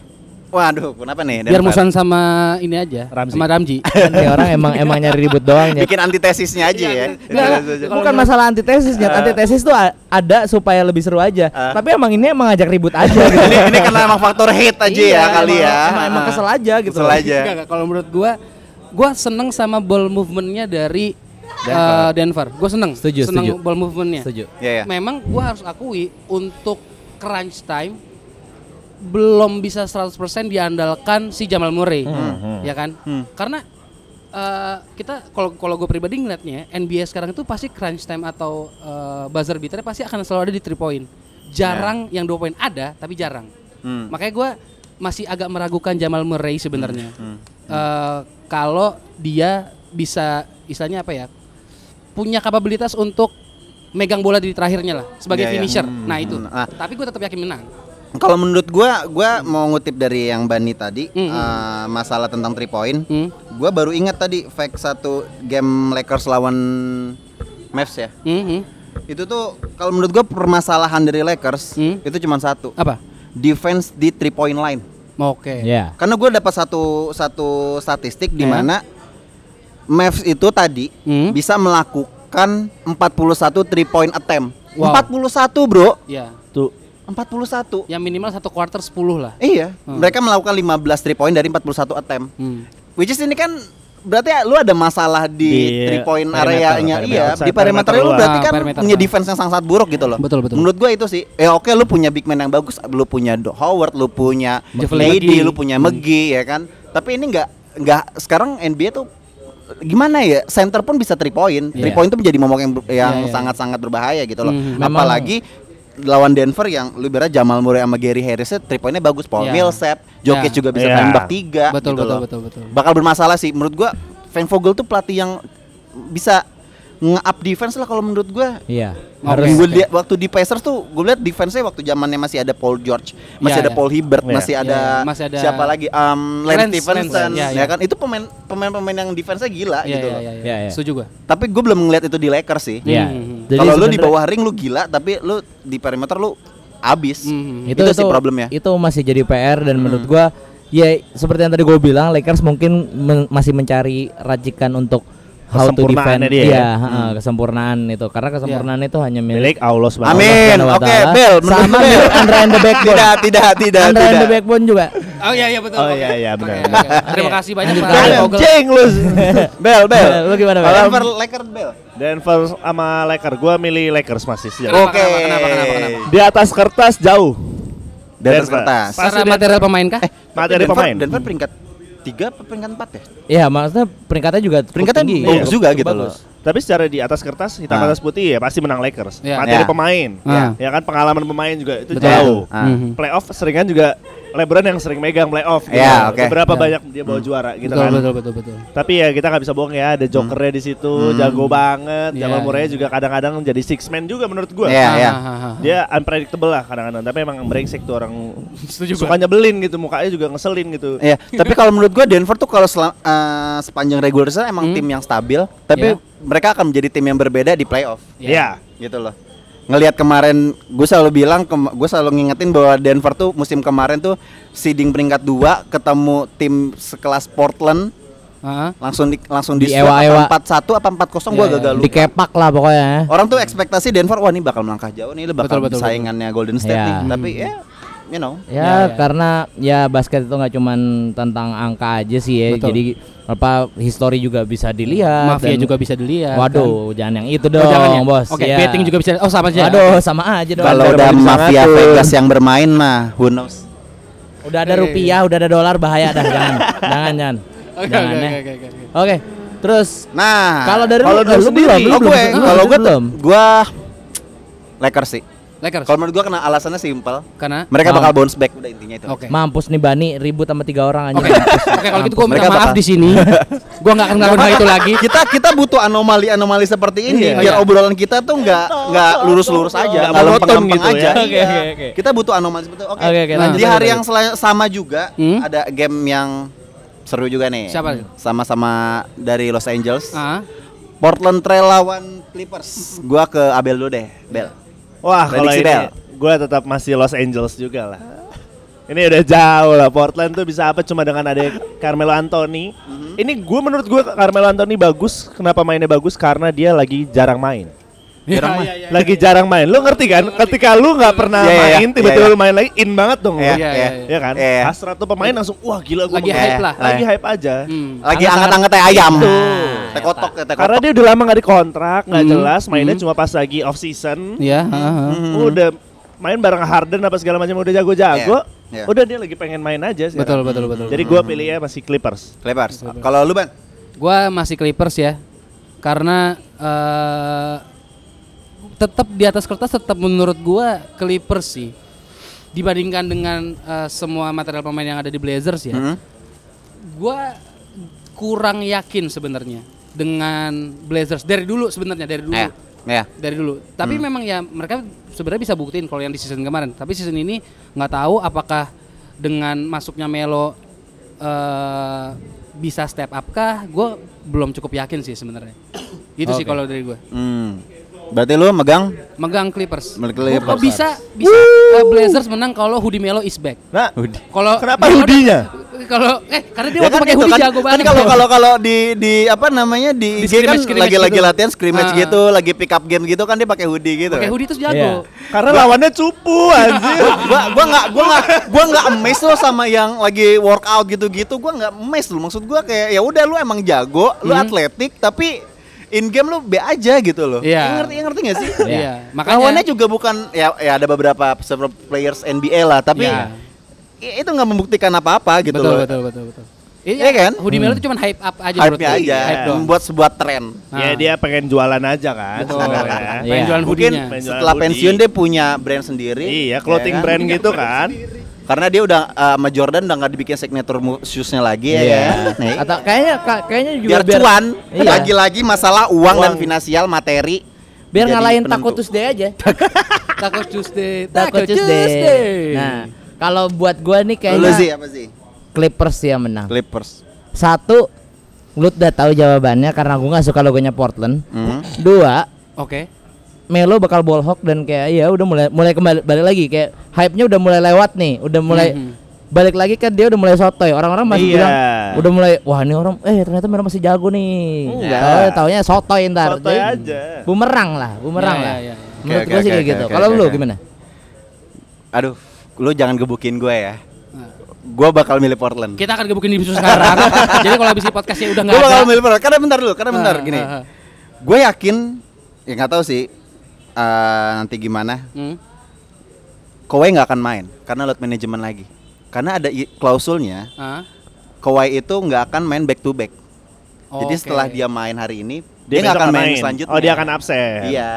D: Waduh, kenapa nih? Denver?
F: Biar musuhan sama ini aja,
A: Ramzi.
F: sama Ramji.
E: [laughs] Kan nih orang emang emang nyari ribut doang ya.
D: [laughs] Bikin antitesisnya aja ya.
E: Iya. Nggak, bukan masalah antitesisnya.
D: Eh.
E: antitesis tuh a- ada supaya lebih seru aja.
D: Ah.
E: Tapi emang ini emang ngajak ribut
D: [laughs]
E: aja gitu.
D: ini, ini karena emang faktor hate aja
E: Iya,
D: ya kali
E: emang-
D: ya.
E: Emang, emang
D: Ah,
E: kesel aja gitu.
D: Kesel
E: loh.
D: aja.
F: Nggak, nggak. Kalau menurut gua, gua seneng sama ball movement-nya dari eh, Denver. Gua seneng.
E: Setuju,
F: seneng
E: setuju.
F: ball movement-nya.
E: Setuju.
D: Iya ya.
F: Memang gua harus akui untuk crunch time belum bisa 100% diandalkan si Jamal Murray.
D: Hmm,
F: Ya kan? Karena eh, kita kalau kalau gue pribadi ngeliatnya NBA sekarang itu pasti crunch time atau eh, buzzer beater pasti akan selalu ada di 3 point. Jarang
D: Ya.
F: yang 2 point ada tapi jarang.
D: Hmm.
F: Makanya gua masih agak meragukan Jamal Murray sebenarnya.
D: Hmm.
F: Eh, kalau dia bisa istilahnya apa ya? punya kapabilitas untuk megang bola di terakhirnya lah sebagai
D: Iya, iya.
F: finisher.
D: Hmm.
F: Nah itu.
D: Nah.
F: Tapi gue tetap yakin menang.
D: Kalau menurut gua, gua mau ngutip dari yang Bani tadi
F: Hmm.
D: eh, masalah tentang 3 point.
F: Hmm.
D: Gua baru ingat tadi fact satu game Lakers lawan Mavs ya.
F: Mhm.
D: Itu tuh kalau menurut gua permasalahan dari Lakers
F: Hmm.
D: itu cuma satu.
F: Apa?
D: Defense di 3 point line.
F: Oke.
E: Ya.
D: Karena gua dapat satu satu statistik di
F: Eh.
D: mana Mavs itu tadi
F: Hmm.
D: bisa melakukan 41 3 point attempt.
F: Wow.
D: 41, Bro.
F: Ya.
A: Tuh.
D: 41.
F: Yang minimal satu quarter 10 lah.
D: Iya,
F: Hmm.
D: mereka melakukan 15 3 point dari 41 attempt.
F: Hmm.
D: Which is ini kan berarti lu ada masalah di
A: Di
D: three point
A: perimeter,
D: areanya
A: perimeter
D: iya
A: outside,
D: di perimeter
A: perimeter
D: lu
A: luar.
D: berarti
F: Ah,
D: kan
F: perimeter,
D: punya
F: ah.
D: defense yang sangat buruk gitu loh
F: Betul, betul.
D: menurut gua itu sih ya oke lu punya big man yang bagus lu punya Do- Howard lu punya
F: Javale
D: Lady
F: McGee.
D: lu punya
F: Hmm.
D: Megi ya kan tapi ini nggak nggak sekarang NBA tuh gimana ya center pun bisa three point three
F: Iya.
D: point itu menjadi momok yang ber- yang
F: Iya, iya.
D: sangat-sangat berbahaya gitu loh
F: Hmm,
E: memang-
D: apalagi lawan Denver yang lu ibarat Jamal Murray sama Gary Harris three pointnya bagus Paul
F: Iya.
D: Millsap Jokic
F: Iya.
D: juga bisa
A: Iya.
D: tembak tiga
F: Betul,
D: gitu
F: betul,
D: loh
F: betul, betul.
D: bakal bermasalah sih menurut gua Frank Vogel tuh pelatih yang bisa nge-up defense lah kalau menurut gua
E: Iya.
D: Harus
E: Harus.
D: gua lihat waktu di Pacers tuh gue lihat defense-nya waktu zamannya masih ada Paul George, masih
F: Ya,
D: ada
F: ya.
D: Paul Hibbert,
A: Ya.
D: masih, ada
F: ya. Masih ada-
D: siapa lagi? Um, Lance
F: Lance,
D: Stephenson,
F: Lance, ya,
D: ya
F: ya.
D: kan? Itu pemain pemain-pemain yang defense-nya gila
F: Iya,
D: gitu.
F: iya,
D: loh.
F: iya,
E: Iya,
F: iya.
E: iya.
F: Setuju gua.
D: Tapi gue belum ngeliat itu di Lakers sih.
E: Iya.
F: Hmm.
E: Jadi
D: Kalau lu di
E: sebenarnya-
D: bawah ring lu gila, tapi lu di perimeter lu abis.
F: Mhm.
D: Itu, sih ya. Hmm. problemnya.
E: Itu masih jadi PR dan menurut gua ya seperti yang tadi gua bilang Lakers mungkin men- masih mencari racikan untuk how to defend
A: Kesempurnaannya dia ya?
E: Iya, heeh,
D: Hmm.
E: kesempurnaan itu. Karena
D: Iya.
E: kesempurnaan itu hanya milik
A: Milik Allah subhanahu wa
D: Amin.
E: Allah
D: Oke,
E: Subhanahu wa
D: Bel,
E: Ta'ala. Sama
D: Bel.
E: milik Andre and the Backbone.
D: [laughs] tidak, tidak, tidak,
E: Andre and the
D: tidak.
E: Backbone juga.
F: Oh iya iya betul.
A: Oh,
F: Oke.
A: iya, iya,
F: Oke,
A: benar,
F: oke,
A: benar.
F: oke. Terima kasih banyak Pak
D: Bel,
F: Vogel.
D: anjing lu. Bel, Bel.
E: Bel, lu gimana, Bel?
D: Kalau Denver Lakers, Bel.
A: Denver sama Lakers, gua milih Lakers masih
D: Ya.
A: sejak.
F: Kenapa, kenapa, kenapa, kenapa, kenapa?
A: Di atas kertas jauh.
D: Dari
A: Denver.
D: kertas.
A: Pasti
F: Secara
A: dia-
F: material pemain kah?
A: Materi
D: Denver-
A: pemain.
D: Denver peringkat 3 apa peringkat 4 ya?
E: Iya, maksudnya peringkatnya juga cukup
D: Peringkatnya
E: tinggi.
D: bagus
E: Cukup
D: juga gitu loh.
E: bagus.
A: Tapi secara di atas kertas hitam
D: Ah.
A: atas putih ya pasti menang Lakers.
F: Ya.
A: Materi
D: Ya.
A: pemain,
F: Ya.
A: ya kan pengalaman pemain juga itu
F: Betul.
A: jauh.
D: Ah.
F: Mhm.
A: Playoff seringan juga LeBron yang sering megang playoff. gitu.
D: Ya, oke.
A: Beberapa
F: Ya.
A: banyak dia bawa juara gitu
F: Betul,
A: kan.
F: betul, betul, betul.
A: Tapi ya kita nggak bisa bohong ya ada jokernya di situ,
D: Hmm.
A: jago banget.
F: Iya,
A: Jamal Murray
F: iya.
A: juga kadang-kadang jadi six man juga menurut gua.
D: Iya,
F: Ah,
D: iya.
F: ah, ah, ah.
A: Dia unpredictable lah kadang-kadang, tapi emang brengsek tuh orang
F: Setuju
A: suka nyebelin gitu, mukanya juga ngeselin gitu.
D: Iya, tapi kalau menurut gua Denver tuh kalau selam- eh, sepanjang regular season emang tim yang stabil, tapi
F: Iya.
D: mereka akan menjadi tim yang berbeda di playoff
F: Ya.
A: Iya.
D: gitu loh. Ngelihat kemarin gue selalu bilang gue selalu ngingetin bahwa Denver tuh musim kemarin tuh seeding peringkat 2 ketemu tim sekelas Portland
F: Heeh.
D: langsung di, langsung di,
E: Di
D: swap apa
E: ewa-ewa.
D: 4-1 apa 4-0 gua
F: Iya,
D: gagal lupa.
E: Dikepak lah pokoknya. ya.
F: Ya,
D: Orang tuh ekspektasi Denver wah ini bakal melangkah jauh nih, lu bakal
F: Betul, betul,
D: saingannya Golden State
E: Iya.
D: nih. Tapi ya you know.
E: Ya,
F: Ya, ya.
E: karena ya basket itu nggak cuman tentang angka aja sih ya.
F: Betul.
E: Jadi apa histori juga bisa dilihat.
F: Mafia
E: dan-
F: juga bisa dilihat. kan?
E: Waduh, jangan yang itu
F: Oh,
E: dong,
F: jangan ya?
E: bos.
F: Oke,
E: Ya.
F: betting juga bisa. Oh, sama aja.
E: Waduh, sama aja dong.
D: Kalau udah mafia Vegas yang bermain mah who knows.
E: udah ada rupiah, udah ada dolar bahaya dah,
F: [laughs]
E: jangan. jangan, jangan.
F: Oke,
E: jangan
F: oke,
E: ya.
F: oke, oke, oke.
E: Oke, terus
D: Nah,
E: kalau dari
A: Kalau
E: eh,
A: lu sendiri,
E: belum,
D: oh,
E: belum,
D: gue
E: belum,
D: kalau
E: lu
D: gue
E: belum.
D: gue Lakers sih.
F: Lakers.
D: Kalau menurut gue kena alasannya simpel.
F: Karena
D: Mereka
E: Mau.
D: bakal bounce back udah intinya itu.
F: Oke.
E: Mampus nih Bani ribut sama tiga orang aja.
F: Oke, oke kalau gitu gue minta
D: Mereka
F: maaf
D: bakal-
F: di sini. Gue nggak akan ngelakuin hal itu
D: [laughs]
F: lagi.
D: Kita kita butuh anomali-anomali seperti ini
F: Iya.
D: biar
F: Iya.
D: obrolan kita tuh nggak nggak lurus-lurus aja,
A: Nggak
D: nggak
A: monoton
D: lempeng-lempeng
A: gitu ya.
D: aja.
E: Oke,
D: Iya.
E: oke, oke.
D: Kita butuh anomali seperti itu. Oke.
E: Oke, oke,
D: Di
E: lanjut,
D: hari
E: lanjut.
D: yang sela- sama juga
F: Hmm?
D: ada game yang seru juga nih.
F: Siapa?
D: Sama-sama dari Los Angeles.
F: Ah,
D: Portland Trail lawan Clippers. Gua ke Abel dulu deh, Bel.
A: Wah, kalau
D: Prediksi
A: ini
D: Del.
A: gue tetap masih Los Angeles juga lah. Ini udah jauh lah. Portland tuh bisa apa cuma dengan ada Carmelo Anthony.
D: Mhm.
A: Ini gue menurut gue Carmelo Anthony bagus. Kenapa mainnya bagus? Karena dia lagi jarang main.
D: Iya,
F: Iya,
D: Jarang mah.
A: lagi jarang main. Lu ngerti kan? Ketika lu nggak pernah
D: Iya, iya, iya,
A: main, tiba-tiba
D: iya.
A: lu main lagi in banget dong. lu.
D: Iya,
F: Iya,
D: iya.
A: Iya kan?
D: Iya, iya.
A: Hasrat tuh pemain langsung wah gila gue
F: lagi
D: mau-
F: hype lah.
A: lagi hype aja.
F: Hmm.
D: Lagi
E: Anget-anget.
D: anget-anget teh ayam.
E: Tuh.
D: Teh kotok, ya, teh
A: Karena
D: kotok.
A: dia udah lama nggak dikontrak, nggak
F: Hmm,
A: jelas. Mainnya
F: hmm.
A: cuma pas lagi off season.
F: Ya. ah, ah.
D: Hmm.
A: Udah main bareng Harden apa segala macam udah jago-jago.
D: Iya, iya.
A: Udah dia lagi pengen main aja sih.
F: Betul, betul, betul. Hmm.
A: Jadi gua pilihnya masih Clippers.
D: Clippers. Kalau lu, Ban?
F: Gue masih Clippers ya, karena eh tetap di atas kertas tetap menurut gue Clippers sih dibandingkan dengan eh, semua material pemain yang ada di Blazers ya.
D: Hmm?
F: Gua kurang yakin sebenarnya dengan Blazers dari dulu sebenarnya dari dulu
D: Eh. Ya.
F: dari dulu. Tapi memang ya mereka sebenarnya bisa buktiin kalau yang di season kemarin. Tapi season ini nggak tahu apakah dengan masuknya Melo eh, bisa step up kah? Gue belum cukup yakin sih sebenarnya. Itu sih kalau dari gue.
D: Hmm. Berarti lu megang
F: Megang Clippers.
D: Megang Clippers.
F: Kok bisa bisa eh, Blazers menang kalau Hoodie Melo is back.
A: Nah,
F: Kalau
A: Kenapa
F: dia udah-
A: hoodie-nya?
F: Kalau eh karena dia
D: Ya
F: waktu pakai
D: gitu,
F: hoodie
D: kan-
F: jago banget.
D: kan kalau kalau kalau di di apa namanya di, IG kan
F: Di scrimmage- scrimmage
D: lagi-lagi
F: gitu.
D: latihan scrimmage
F: Ah.
D: gitu, lagi pick up game gitu kan dia pakai hoodie gitu. kan.
F: pakai hoodie terus jago.
A: karena lawannya cupu anjir.
D: gua gua nggak gua nggak gua nggak amazed lo sama yang lagi workout gitu-gitu gua nggak amazed lo maksud gua kayak ya udah lu emang jago lu
F: Hmm.
D: atletik tapi in game lu B aja gitu loh
F: Iya.
D: Ya ngerti ya ngerti gak sih
F: Iya, makanya-
D: lawannya juga bukan ya ya ada beberapa several players NBA lah tapi
F: Iya.
D: i- itu nggak membuktikan apa-apa gitu
F: betul,
D: loh
F: betul betul betul. Iya
D: Iya kan?
F: Hoodie Melo itu cuma hype up aja menurut
D: hype-nya
F: gua.
D: aja
F: Hype doang. Nah,
D: membuat sebuah tren
F: Iya,
A: Ya dia pengen jualan aja kan
F: Betul.
A: sebenarnya.
F: Pengen
E: Iya.
F: jualan
D: mungkin
F: hoodie-nya.
A: Penjualan
D: setelah
A: hoodie.
D: pensiun dia punya brand sendiri
A: [laughs] Iya,
D: ya
A: clothing
D: kan?
A: brand gitu kan.
D: karena dia udah eh, sama Jordan udah nggak dibikin signature mo- shoes-nya lagi ya
E: Iya.
D: kan? Nih.
E: Atau kayaknya ka- kayaknya juga
D: biar, cuan
E: Iya.
D: lagi-lagi masalah uang, dan
A: Uang.
D: finansial materi
E: biar
D: jadi
E: ngalahin
D: penentu.
E: Taco Tuesday aja.
F: [laughs] Taco Tuesday,
E: Taco Nah, Tuesday. Nah, kalau buat gua nih
D: lu sih
E: kayaknya
D: apa sih
E: Clippers yang menang.
D: Clippers
E: Satu, lu udah tahu jawabannya karena gua nggak suka logonya Portland.
D: Hmm.
E: Dua,
F: Oke.
E: Melo bakal ball hawk dan kayak ya udah mulai mulai kembali balik lagi kayak hype-nya udah mulai lewat nih, udah mulai
F: Mhm.
E: balik lagi kan dia udah mulai sotoy. Orang-orang masih
A: Iya.
E: bilang udah mulai wah ini orang eh ternyata Melo masih jago nih.
A: Enggak.
E: Tau- taunya sotoy ntar.
A: Sotoy
E: Jadi,
A: aja.
E: Bumerang lah, bumerang
F: Ya,
E: lah.
F: ya, ya, ya.
E: Menurut
D: Oke,
E: gua
D: oke,
E: sih kayak
D: oke,
E: gitu.
D: oke,
E: Kalau
D: oke,
E: lu
D: oke.
E: gimana?
D: aduh lu jangan gebukin gue ya
F: Nah.
D: gue bakal milih Portland
F: Kita akan gebukin di episode
D: [laughs]
F: sekarang. Jadi kalau habis di podcastnya udah
D: gue
F: nggak ada.
D: bakal milih Portland karena bentar dulu karena bentar
F: Ah,
D: gini
F: ah, ah.
D: gue yakin ya nggak tahu sih eh, nanti gimana
F: Hmm.
D: Kawhi nggak akan main karena load management lagi karena ada i- klausulnya
F: ah.
D: Kawhi itu nggak akan main back to back jadi
F: Oke.
D: setelah dia main hari ini dia
A: Dia,
D: nggak
A: besok
D: akan main, selanjutnya
A: Oh, dia akan absen.
D: iya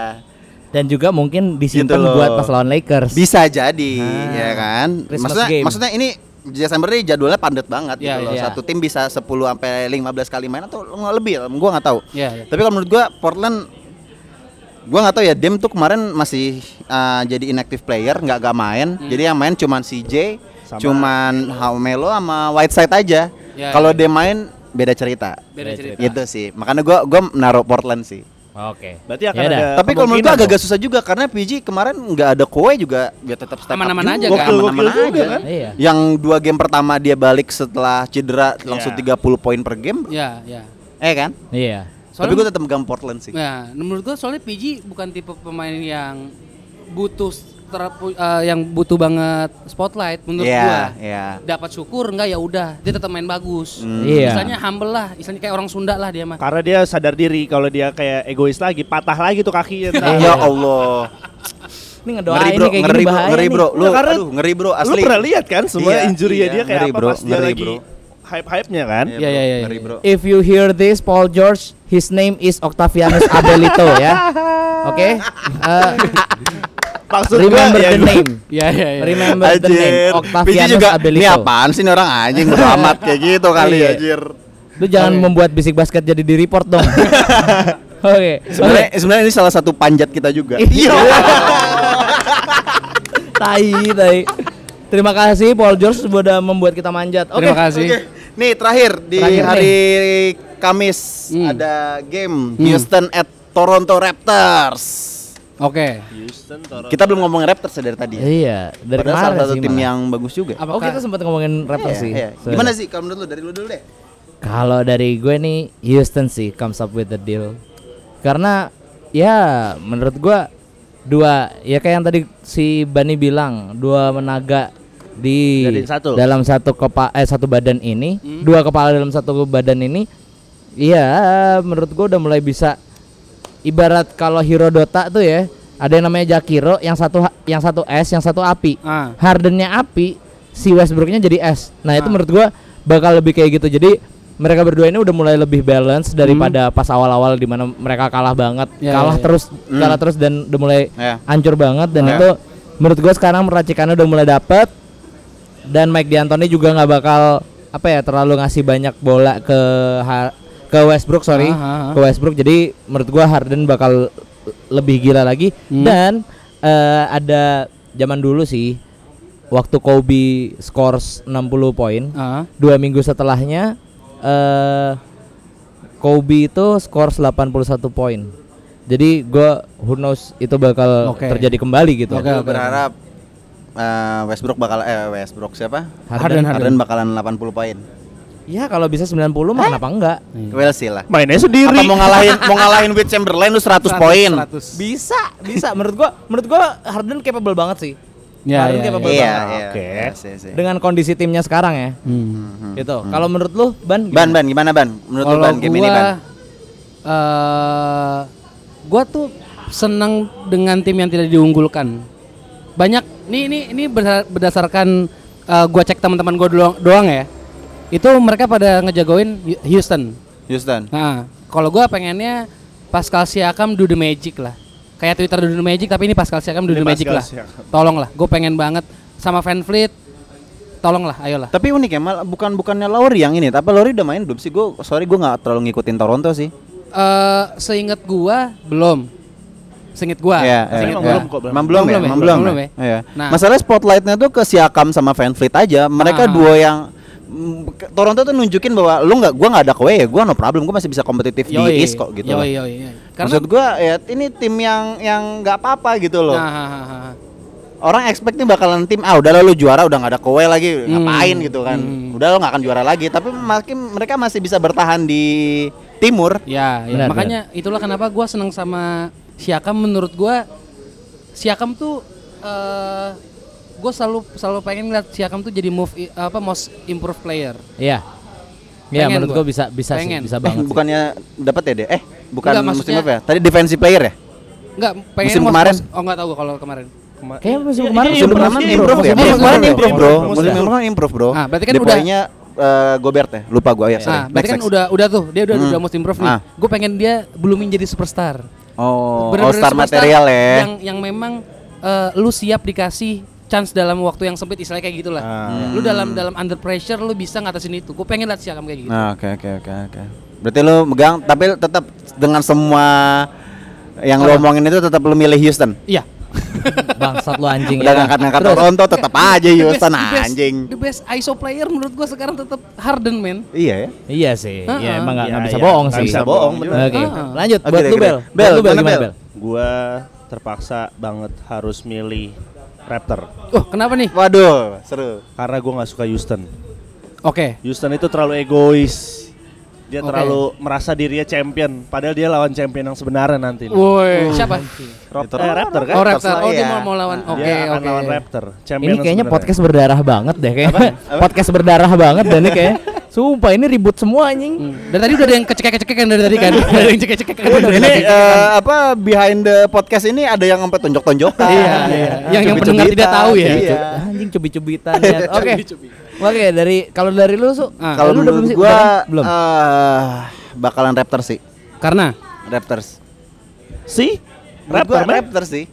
E: Dan juga mungkin disimpan
D: Gitu loh.
E: buat pas lawan Lakers.
D: Bisa jadi, ya kan?
E: Christmas
D: maksudnya
E: game.
D: maksudnya ini Desember ini jadwalnya padat banget
F: Iya,
D: gitu loh.
E: iya.
D: Satu tim bisa 10 sampai 15 kali main atau lebih, gua nggak tahu.
F: Iya, iya.
D: Tapi kalau menurut gua Portland gua nggak tahu ya Dem tuh kemarin masih uh, jadi inactive player, nggak nggak main.
F: Hmm.
D: Jadi yang main cuman CJ,
A: Sama-
D: cuman Haumelo sama Whiteside aja.
F: Iya,
D: kalau
F: iya.
D: dia main beda cerita.
F: Beda cerita.
D: Gitu sih. Makanya gua gua naruh Portland sih.
E: Oke.
A: Berarti
F: Ya
A: akan
E: Yaudah.
D: Tapi
F: Eh,
A: ada
D: kalau menurut gua
A: kemungkinan
D: agak-agak susah juga karena PG kemarin nggak ada kowe juga dia tetap step up
F: Aman-aman
D: juga.
F: aja kan?
D: aman-aman
A: Gokil-gokil juga
D: aja
A: kan?
E: Iya.
D: Yang dua game pertama dia balik setelah cedera langsung 30 poin per game,
F: Ya, ya.
D: eh kan?
E: Iya.
D: Tapi
F: Soalnya
D: gua tetap megang Portland sih.
F: Nah, menurut gua soalnya PG bukan tipe pemain yang butuh terapu- eh, yang butuh banget spotlight menurut gua.
D: Iya, Hmm. iya.
F: Dapat syukur enggak ya udah, dia tetap main bagus.
E: Iya.
F: Istilahnya humble lah, istilahnya kayak orang Sunda lah dia mah.
A: Karena dia sadar diri kalau dia kayak egois lagi, patah lagi tuh
F: Iya.
A: kakinya. ntar.
D: Ya Allah.
E: Ini ngedoain
D: Ngeri bro,
E: Nah, iya. nih kayak
D: ngeri
E: gini
D: bro,
E: bahaya
D: ngeri
E: nih.
D: bro. Lu
A: Nah, karena
D: aduh, ngeri bro asli.
A: Lu pernah lihat kan semua
D: Iya,
A: injury
D: iya.
A: dia kayak
D: Ngeri,
A: apa
D: bro,
A: pas dia
D: ngeri,
A: lagi
D: bro.
A: hype-hype-nya kan?
D: Iya,
F: Iya,
D: bro,
F: iya, iya,
D: Ngeri
F: iya.
D: bro.
E: If you hear this, Paul George, his name is Octavianus Abelito ya. Oke. Eh,
A: Maksud gua,
E: remember
A: ya
E: the
A: gua-
E: name.
F: Ya, ya,
E: iya.
F: ya.
E: Remember the name
D: Anjir, Piji
E: Octavianus
D: juga, ini
E: Abelito.
D: apaan sih ini orang anjing beramat kayak gitu kali
E: Iya.
D: anjir
E: Lu jangan
F: Oke.
E: membuat bisik basket jadi di report
D: [laughs]
E: dong. Oke.
D: Sebenarnya sebenarnya ini salah satu panjat kita juga
E: Iya. Tai, tai. Terima kasih Paul George sudah membuat kita manjat. Oke.
F: Terima kasih.
D: Oke, nih terakhir di
E: Terakhir nih.
D: hari Kamis
F: Hmm.
D: ada game
E: Hmm.
D: Houston at Toronto Raptors.
F: Oke.
D: Iya. Kita belum ngomongin Raptors ya dari tadi. ya.
E: Iya, dari
D: Padahal
E: kemarin
D: salah satu
E: sih
D: tim
E: malah.
D: yang bagus juga.
E: Oh, kita sempat ngomongin Raptors
D: Iya,
E: sih.
D: iya.
E: So-
D: Gimana sih kalau menurut lu dari lu dulu deh?
E: Kalau dari gue nih Houston sih comes up with the deal. Karena ya menurut gue dua ya kayak yang tadi si Bani bilang dua menaga di
A: Jadi satu.
E: dalam satu kepa eh satu badan ini
D: Hmm.
E: dua kepala dalam satu badan ini ya menurut gue udah mulai bisa ibarat kalau Hirodota tuh ya ada yang namanya Jakiro yang satu ha- yang satu es yang satu api
F: Ah.
E: Hardennya api, si Westbrooknya jadi es. Nah itu menurut gua bakal lebih kayak gitu. Jadi mereka berdua ini udah mulai lebih balance daripada pas awal-awal di mana mereka kalah banget,
F: Hmm. Ya,
E: kalah
F: ya, ya.
E: terus, kalah terus dan udah mulai
D: Ya.
E: hancur banget. Dan
D: Ya.
E: itu menurut gua sekarang racikannya udah mulai dapet. Dan Mike D'Antoni juga nggak bakal apa ya terlalu ngasih banyak bola ke Har- ke Westbrook sorry
F: Ah, ah, ah.
E: ke Westbrook. Jadi menurut gua Harden bakal lebih gila lagi
F: Hmm.
E: dan eh, ada zaman dulu sih waktu Kobe scores 60 poin
F: Ah,
E: dua minggu setelahnya eh Kobe itu skors 81 poin. Jadi gua who knows itu bakal
F: Oke.
E: terjadi kembali gitu.
F: Oke,
D: Gua
F: oke.
D: berharap eh, Westbrook bakal eh Westbrook siapa?
E: Harden.
D: Harden bakalan 80 poin.
E: Ya kalau bisa 90
D: Eh.
E: mah kenapa enggak?
F: Iya.
D: Well sih lah.
A: Mainnya
D: Apa
A: sendiri.
D: mau ngalahin mau ngalahin Wilt Chamberlain lu 100 poin.
F: 100.
E: Bisa, bisa menurut gua menurut gua Harden capable banget sih.
F: Ya,
E: Harden
F: ya,
E: capable
D: Iya,
E: banget.
D: iya.
A: Oke.
D: Iya, sih, sih.
E: Dengan kondisi timnya sekarang ya.
F: Hmm.
E: Gitu. Kalau menurut lu Ban
D: Ban ban gimana ban? Menurut lu
F: Kalau
D: ban game ini
F: gua,
D: ban?
F: eh, gua tuh senang dengan tim yang tidak diunggulkan. Banyak ini ini ini berda- berdasarkan eh, gua cek teman-teman gua doang, doang ya. Itu mereka pada ngejagoin Hu- Houston.
D: Houston.
F: Nah, kalau gua pengennya Pascal Siakam do the magic lah. Kayak Twitter do the magic tapi ini Pascal Siakam do
A: Ini
F: the magic
A: Pascal
F: lah.
A: Siakam.
F: Tolonglah, gue pengen banget sama Van Fleet. Tolonglah, ayolah.
D: Tapi unik ya, mal- bukan bukannya Lowry yang ini, tapi Lowry udah main belum sih? Gue sorry gue nggak terlalu ngikutin Toronto sih.
F: eh seingat gua belum. Seingat gua.
D: Iya,
F: Seingat
D: iya,
F: gua.
D: iya.
A: belum kok, belum.
D: Emang belum, ya,
F: Belum belum ya?
D: emang belum,
F: Belum
D: ya.
F: belum ya?
D: Iya.
F: Nah.
D: Masalah spotlightnya tuh ke Siakam sama Van Fleet aja. Mereka
F: Ah.
D: dua yang mm, ke- Toronto tuh nunjukin bahwa lu nggak, gua nggak ada kowe ya, gua no problem, gua masih bisa kompetitif di
F: Yoi.
D: East kok gitu.
F: Yoi,
D: loh.
F: yoi, yoi. Karena
D: Maksud gua ya ini tim yang yang nggak apa-apa gitu loh.
F: Nah, ha, ha, ha, ha.
D: Orang expect nih bakalan tim ah udah lah lu juara udah nggak ada kowe lagi
F: Hmm.
D: ngapain gitu kan.
F: Hmm.
D: Udah lo nggak akan juara lagi, tapi makin mereka masih bisa bertahan di timur.
F: Ya, ya.
E: Benar,
F: makanya itulah kenapa gua senang sama Siakam menurut gua Siakam tuh eh gue selalu selalu pengen ngeliat Siakam tuh jadi move i- apa most improved player.
E: Iya. Iya
F: Pengen
E: menurut
F: gua.
E: gua bisa bisa
F: Pengen.
E: sih, bisa
D: Eh,
E: banget. sih.
D: bukannya dapat ya deh? Eh, bukan
F: Enggak,
D: musim
F: maksudnya-
D: apa ya? Tadi defensive player ya?
F: Enggak, pengen
D: Musim
F: most-
D: kemarin?
F: most- oh enggak tahu gua kalau kemarin. Kema-
E: Kayaknya musim gitu.
F: Kan
A: Iya,
E: kemarin
A: iya,
D: Musim
A: Improve,
D: pertama
A: improve,
D: improve ya?
A: musim
D: Musim
F: kemarin
D: kemarin improve
A: improve,
D: bro
A: improve,
D: Musim
E: Iya.
A: improve.
D: kemarin improve bro
F: Ah, berarti kan
D: Deploy-nya, eh, Gobert ya? Lupa gue, ya sorry
F: Nah, berarti kan udah udah tuh, dia udah
D: Hmm.
F: udah most improved nih.
D: Ah.
F: Gue pengen dia belumin jadi superstar.
D: Oh,
F: Bener-bener
D: all-star
F: superstar
D: material ya
F: Yang yang memang eh, lu siap dikasih chance dalam waktu yang sempit istilahnya kayak gitulah. Lu dalam dalam under pressure lu bisa ngatasin itu. Gue pengen lihat Siakam kayak gitu.
D: Nah, oke oke oke oke Berarti lu megang, tapi tetap dengan semua yang lo omongin itu tetap lu milih Houston
F: Iya.
E: Bangsat lu anjing ya.
D: Udah ngangkat-ngangkat Toronto tetap aja
F: The Iya. best-
D: Houston Nah,
F: the best-
D: anjing
F: The best ISO player menurut gue sekarang tetap Harden men.
D: Iya ya
E: Iya sih,
F: Heeh.
E: ya emang nggak nggak
A: Iya,
E: bisa
A: iya.
E: bohong
A: Nggak
E: sih.
A: bisa bohong, bener.
E: Oke,
F: Heeh.
E: lanjut
D: Oke,
E: buat
D: deh,
E: lu
D: oke,
E: Bel.
D: deh.
E: Buat
D: Bel,
E: lu Bel
D: mana
E: gimana
D: Bel?
E: Bel?
A: Gua terpaksa banget harus milih Raptor
F: Oh, kenapa nih?
D: Waduh, seru
A: karena gua nggak suka Houston.
F: Oke.
A: Houston itu terlalu egois. Dia
F: Oke.
A: terlalu merasa dirinya champion, padahal dia lawan champion yang sebenarnya nanti. nih.
D: Oh,
F: Woi, siapa?
A: Rob- eh, Raptor kan?
F: Oh, Raptor. Oh, dia
D: Iya.
F: mau, mau lawan.
A: Dia
F: Oke,
A: akan
F: oke.
A: lawan Raptor. Champion
E: Ini
A: yang
E: kayaknya
A: sebenarnya.
E: podcast berdarah banget deh kayaknya. Podcast berdarah banget dan ini kayak sumpah ini ribut semua anjing.
F: Hmm. Dan tadi udah ada yang kecekek-kecekek kan dari tadi kan. Udah ada yang cekek-cekek kan dari
D: Ini
F: tadi.
D: eh, apa behind the podcast ini ada yang sampai tonjok-tonjokan.
F: Iya, iya. Yang- yang pendengar tidak tahu ya.
D: Iya.
E: Anjing cubit-cubitan
D: [laughs]
E: ya. Oke. Oke, dari kalau dari lu Su,
F: Ah,
D: Kalau
E: lu udah
D: menurut
E: belum sih?
D: gua
E: Udah kan? belum.
D: eh, bakalan Raptors sih.
F: Karena
D: Raptors.
A: Si?
D: Menurut
A: Raptor,
D: gua
A: man.
D: Raptors sih.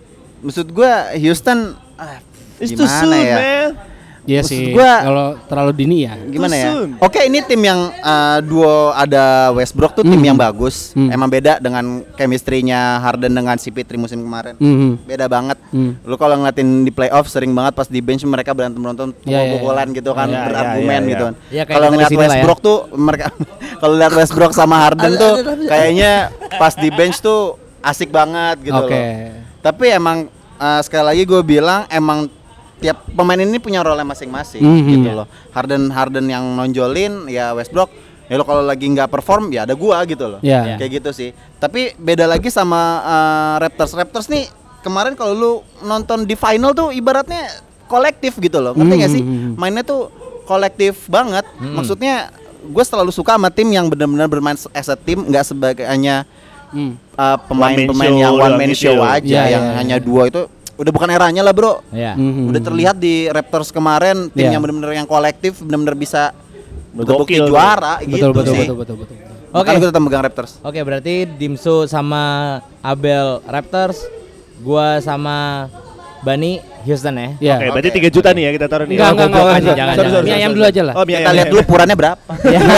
D: Maksud gua Houston ah,
A: It's too
D: gimana
A: soon,
D: ya?
A: man.
F: Iya
D: Maksud
F: sih.
D: gua-
F: Kalau terlalu dini ya.
D: Gimana
A: Too
D: ya?
A: soon.
D: Oke, ini tim yang eh, duo ada Westbrook tuh tim
F: Hmm.
D: yang bagus.
F: Hmm.
D: Emang beda dengan chemistry-nya Harden dengan CP3 musim kemarin.
F: Mhm.
D: Beda banget.
F: Hmm.
D: Lu kalau ngeliatin di playoff sering banget pas di bench mereka berantem berantem
E: Ya,
F: Iya, iya,
D: pukul-pukulan gitu kan
A: Iya, iya,
D: berargumen
A: iya, iya.
D: gitu kan.
E: Iya, kayak kita
D: kalau
E: di
D: ngeliat
E: sini lah ya.
D: Westbrook tuh mereka [laughs] kalau lihat Westbrook sama Harden tuh kayaknya pas di bench tuh asik banget gitu
F: Oke.
D: loh. Tapi emang eh, sekali lagi gue bilang emang tiap pemain ini punya role masing-masing
F: Mhm.
D: gitu loh. Harden Harden yang nonjolin ya Westbrook ya lo kalau lagi nggak perform ya ada gua gitu loh
F: Iya.
D: kayak gitu sih tapi beda lagi sama eh, Raptors Raptors nih kemarin kalau lu nonton di final tuh ibaratnya kolektif gitu loh ngerti nggak sih
F: Hmm.
D: mainnya tuh kolektif banget
F: Mhm.
D: maksudnya gue selalu suka sama tim yang benar-benar bermain se- as a tim nggak sebagai hanya
F: Hmm.
D: eh, pemain-pemain
A: One
D: yang
A: man show
D: one
A: doang
D: man
A: gitu
D: show
A: ya.
D: aja
F: Iya,
D: yang
F: iya,
D: hanya dua itu udah bukan eranya lah bro
E: Iya.
F: Mhm.
D: udah terlihat di Raptors kemarin tim
F: Iya.
D: yang benar-benar yang kolektif benar-benar bisa terbukti
A: Gokil.
D: juara gitu
F: Betul, betul,
D: sih
F: betul, betul, betul.
E: Oke.
D: Makanya gue tetap megang Raptors
A: Iya,
E: Oke, berarti Dimsu sama Abel Raptors, gua sama Bani Houston ya.
F: Ya.
A: Oke,
F: Enggak,
A: berarti
C: Oke.
A: 3 juta nih ya kita taruh nih.
F: enggak, enggak,
E: goblok
F: enggak,
E: aja, jangan,
F: Sorry, sorry,
E: jangan.
F: Mie ayam dulu aja lah.
A: Oh, mie
D: Kita
A: ayam,
D: lihat
A: ya.
D: dulu ukurannya
F: [laughs]
D: berapa.
F: Iya,
E: Ya.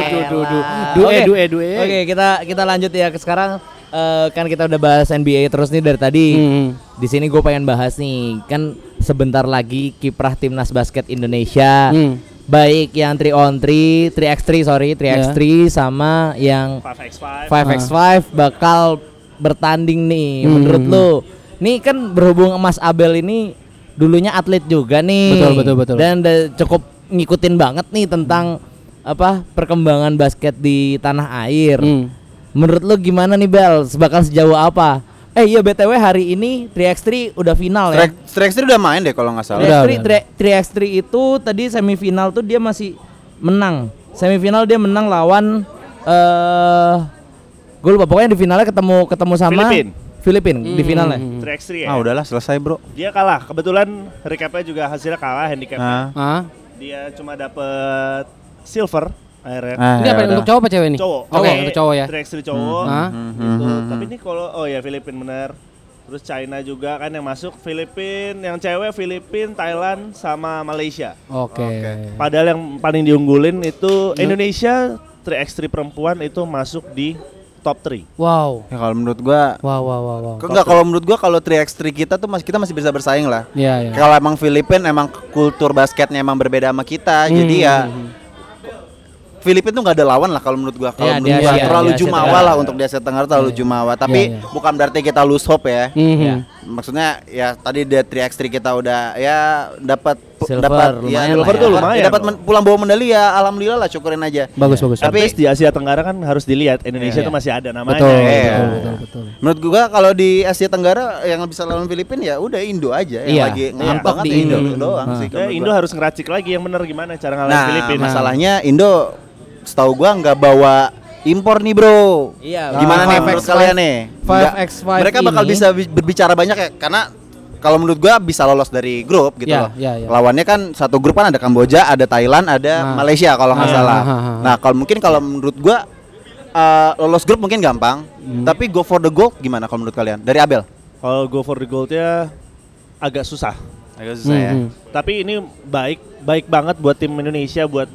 F: Duh, duh, duh. eh. Due,
E: Oke.
F: due, due.
E: Oke, kita kita lanjut ya ke sekarang eh, kan kita udah bahas NBA terus nih dari tadi.
F: Hmm.
E: Di sini gue pengen bahas nih, kan sebentar lagi kiprah timnas basket Indonesia
F: Hmm.
E: baik yang 3 on 3, 3x3 sorry,
F: Ya.
E: 3x3 sama yang
A: 5x5.
E: 5x5 bakal bertanding nih
F: Hmm.
E: menurut lu. Nih kan berhubung Mas Abel ini dulunya atlet juga nih.
F: Betul, betul, betul.
E: Dan da- cukup ngikutin banget nih tentang apa perkembangan basket di tanah air.
F: Hmm.
E: Menurut lu gimana nih Bel? Bakal sejauh apa? Eh iya BTW hari ini 3x3 udah final ya.
D: Strike Strike Street udah main deh kalau nggak salah.
F: iya. Udah.
E: 3x3 3- 3x3 itu tadi semifinal tuh dia masih menang. Semifinal dia menang lawan eh gue lupa pokoknya di finalnya ketemu ketemu sama
A: Filipin.
E: Filipin di
F: Hmm.
E: finalnya.
A: 3x3 ya.
D: Ah udahlah selesai bro.
A: Dia kalah. Kebetulan recapnya juga hasilnya kalah handicapnya.
D: Ah,
F: Ah.
A: Dia cuma dapet silver akhirnya.
D: ah,
F: Ini
D: ya
F: apa nih, untuk
D: udah.
F: cowok apa cewek nih?
A: Cowok.
F: Oke, untuk cowok ya.
A: 3x3 cowok.
F: Ah.
A: gitu. Tapi ini kalau oh ya Filipin benar. Terus China juga kan yang masuk Filipin, yang cewek Filipin, Thailand sama Malaysia.
F: Oke.
A: Padahal yang paling diunggulin itu
F: Hmm.
A: Indonesia 3x3 perempuan itu masuk di top 3.
F: Wow.
D: Ya, kalau menurut gua
F: Wow, wow, wow, wow.
D: Enggak kalau menurut gua kalau 3x3 kita tuh masih kita masih bisa bersaing lah.
F: Iya, iya.
D: Kalau emang Filipin emang kultur basketnya emang berbeda sama kita, jadi
F: Hmm,
D: ya Filipin tuh nggak ada lawan lah kalau menurut gua. Kalau
E: Ya, di
D: menurut gua
E: Asia,
D: terlalu
E: di Asia
D: jumawa
E: Tenggara.
D: lah untuk di Asia Tenggara terlalu jumawa. Tapi
F: Ya, ya.
D: bukan berarti kita lose hope ya.
F: Mhm.
E: Ya.
D: Maksudnya ya tadi di 3x3 kita udah ya dapat
E: Silver,
D: dapat ya,
E: lumayan lah
D: silver
A: ya.
D: tuh lumayan.
A: Lumayan
D: dapat
A: loh.
D: men- pulang bawa medali ya alhamdulillah lah syukurin aja.
E: Mm-hmm.
F: Bagus, bagus.
A: Tapi
D: Tapi-
A: di Asia Tenggara kan harus dilihat Indonesia itu masih ada
F: Iya,
A: namanya.
F: Betul,
A: gitu.
D: Iya.
F: betul, betul, betul.
D: Menurut gua kalau di Asia Tenggara yang bisa lawan Filipin ya udah Indo aja yang
F: Iya.
D: lagi
F: Iya.
D: ngam banget
F: Di
D: ya Indo
F: Indo.
D: doang
F: Ah.
D: sih.
A: Ya,
D: kalau menurut
A: Indo
D: gua.
A: harus ngeracik lagi yang benar gimana cara ngalahin
D: Nah,
A: Filipin.
D: masalahnya Indo setahu gua nggak bawa impor nih, Bro.
E: Iya,
D: Gimana
E: betul.
D: nih
E: 5x5
D: menurut kalian nih?
F: 5x5
D: Nggak- Mereka bakal
F: ini-
D: bisa bi- berbicara banyak ya karena kalau menurut gua bisa lolos dari grup gitu
F: Ya,
D: loh.
F: ya, ya.
D: Lawannya kan satu grup kan ada Kamboja, ada Thailand, ada
F: Nah.
D: Malaysia kalau nggak
F: Ah,
D: salah.
F: ah, ah, ah.
D: Nah, kalau mungkin kalau menurut gua eh, lolos grup mungkin gampang, tapi go for the goal gimana kalau menurut kalian? Dari Abel.
A: Kalau go for the gold-nya agak susah.
D: Agak
F: Mhm.
A: Tapi ini baik baik banget buat tim Indonesia buat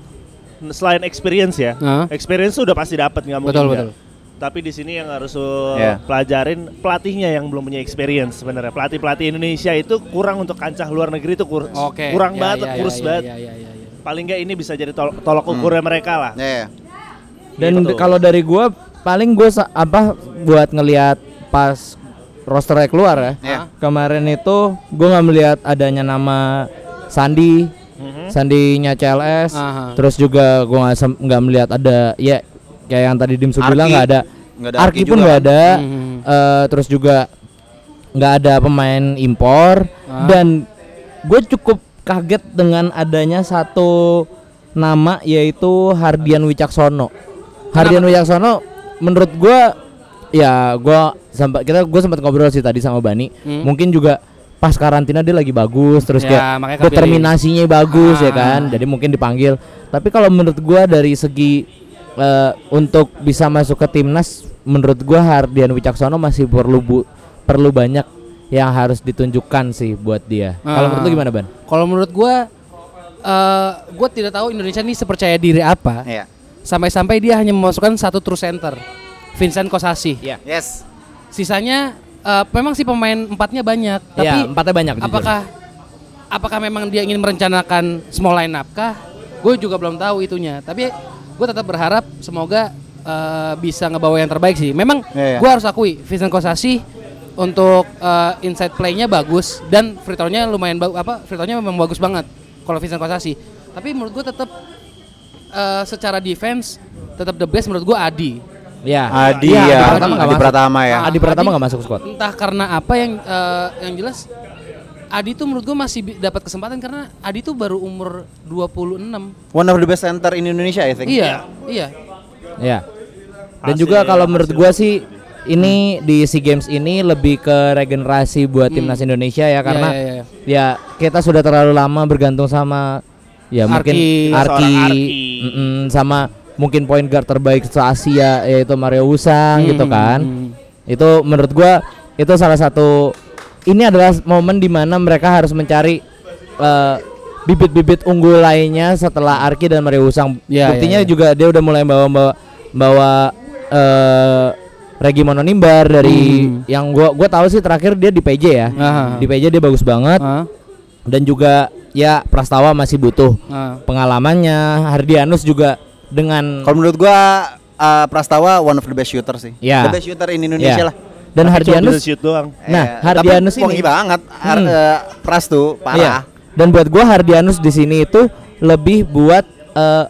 A: selain experience ya.
F: Hah?
A: Experience tuh udah pasti dapat nggak mungkin.
F: Betul,
A: nggak.
F: betul.
A: Tapi di sini yang harus lo
D: Iya.
A: pelajarin pelatihnya yang belum punya experience sebenarnya. Pelatih-pelatih Indonesia itu kurang untuk kancah luar negeri itu kur-
F: Oke.
A: kurang
F: Ya,
A: banget,
F: ya,
A: kurus
F: ya,
A: banget.
F: ya, ya, ya, ya.
A: Paling nggak ini bisa jadi tol- tolok
E: Hmm.
A: ukurnya mereka lah.
D: Ya, ya.
E: Dan
A: Gitu.
E: kalau dari gua paling gue apa buat ngelihat pas rosternya keluar ya.
D: Iya.
E: Kemarin itu gua nggak melihat adanya nama Sandi,
D: Mhm.
E: Sandinya CLS,
F: Aha.
E: terus juga gua nggak sem- nggak melihat ada ya kayak yang tadi Dimsu bilang
D: Arki.
E: nggak ada.
D: Nggak ada
E: Arki
D: Arki
E: pun
D: juga
E: nggak
D: kan?
E: ada.
F: Mhm.
E: Eh, terus juga nggak ada pemain impor
F: Ah.
E: dan gue cukup kaget dengan adanya satu nama yaitu Hardian Wicaksono. Hardian Wicaksono menurut gue ya gue sampai kita gue sempat ngobrol sih tadi sama Bani
F: Hmm.
E: mungkin juga pas karantina dia lagi bagus terus
F: Ya, makanya
E: kayak
F: kepilih.
E: determinasinya bagus ya
F: Ah.
E: kan jadi mungkin dipanggil tapi kalau menurut gue dari segi eh, untuk bisa masuk ke timnas menurut gue Hardian Wicaksono masih perlu bu- perlu banyak yang harus ditunjukkan sih buat dia kalau
F: Ah.
E: menurut lu gimana ban
F: Kalau menurut gua eh gua tidak tahu Indonesia ini sepercaya diri apa
D: Iya.
F: sampai-sampai dia hanya memasukkan satu true center. Vincent Kosasi.
E: Iya.
D: Yes.
F: Sisanya eh, memang sih pemain empatnya banyak, tapi
E: ya empatnya banyak jujur.
F: apakah apakah memang dia ingin merencanakan small line up kah? Gue juga belum tahu itunya. Tapi gue tetap berharap semoga eh, bisa ngebawa yang terbaik sih. Memang
D: Iya, iya.
F: gue harus akui Vincent Kosasi untuk eh, inside play-nya bagus dan free throw-nya lumayan bagus apa free throw-nya memang bagus banget kalau Vincent Kosasi. Tapi menurut gue tetap eh, secara defense tetap the best menurut gue Adi.
E: ya
D: Adi
E: Iya,
D: ya,
E: Adi Pratama nggak
D: Adi
E: masuk.
D: Pratama ya.
F: Ah,
E: Adi Pratama
F: Adi-
E: nggak masuk squad
F: Entah karena apa yang eh, yang jelas Adi tuh menurut gue masih bi- dapat kesempatan karena Adi tuh baru umur 26.
D: One of the best center in Indonesia, I think.
F: Iya, iya.
E: Ya. Dan
A: Hasil-
E: juga kalau menurut
A: hasil
E: gua sih ini di SEA Games ini lebih ke regenerasi buat
A: Hmm.
E: timnas Indonesia ya karena
A: Iya,
F: ya, ya,
E: ya kita sudah terlalu lama bergantung sama ya mungkin
F: Arki.
E: Arki,
A: Seorang Arki.
E: mm-mm, sama mungkin point guard terbaik se Asia
A: Hmm,
E: yaitu Mario Usang gitu kan. Itu menurut gua itu salah satu ini adalah momen di mana mereka harus mencari eh, bibit-bibit unggul lainnya setelah Arki dan Mario Usang.
F: Ya,
A: Iya,
E: Buktinya
F: ya, ya.
E: juga dia udah mulai bawa-bawa bawa eh Regi Mononimbar dari
F: Hmm.
E: yang gua gua tahu sih terakhir dia di PJ ya.
F: Aha.
E: Di PJ dia bagus banget
F: Ah,
E: dan juga ya Prastawa masih butuh
F: ah.
E: pengalamannya. Hardianus juga dengan
D: Kalau menurut gua eh, Prastawa one of the best shooter sih.
E: Ya.
D: The best shooter in Indonesia
E: Ya.
D: lah. gitu
E: dan
A: Tapi cuma bisa
E: Hardianus
A: shoot doang.
E: Nah, Hardianus
D: Eh, tapi wangi
E: ini-
D: banget. Har,
E: Hmm.
D: eh, Pras tuh
E: Iya.
D: parah.
E: Dan buat gua Hardianus di sini itu lebih buat eh,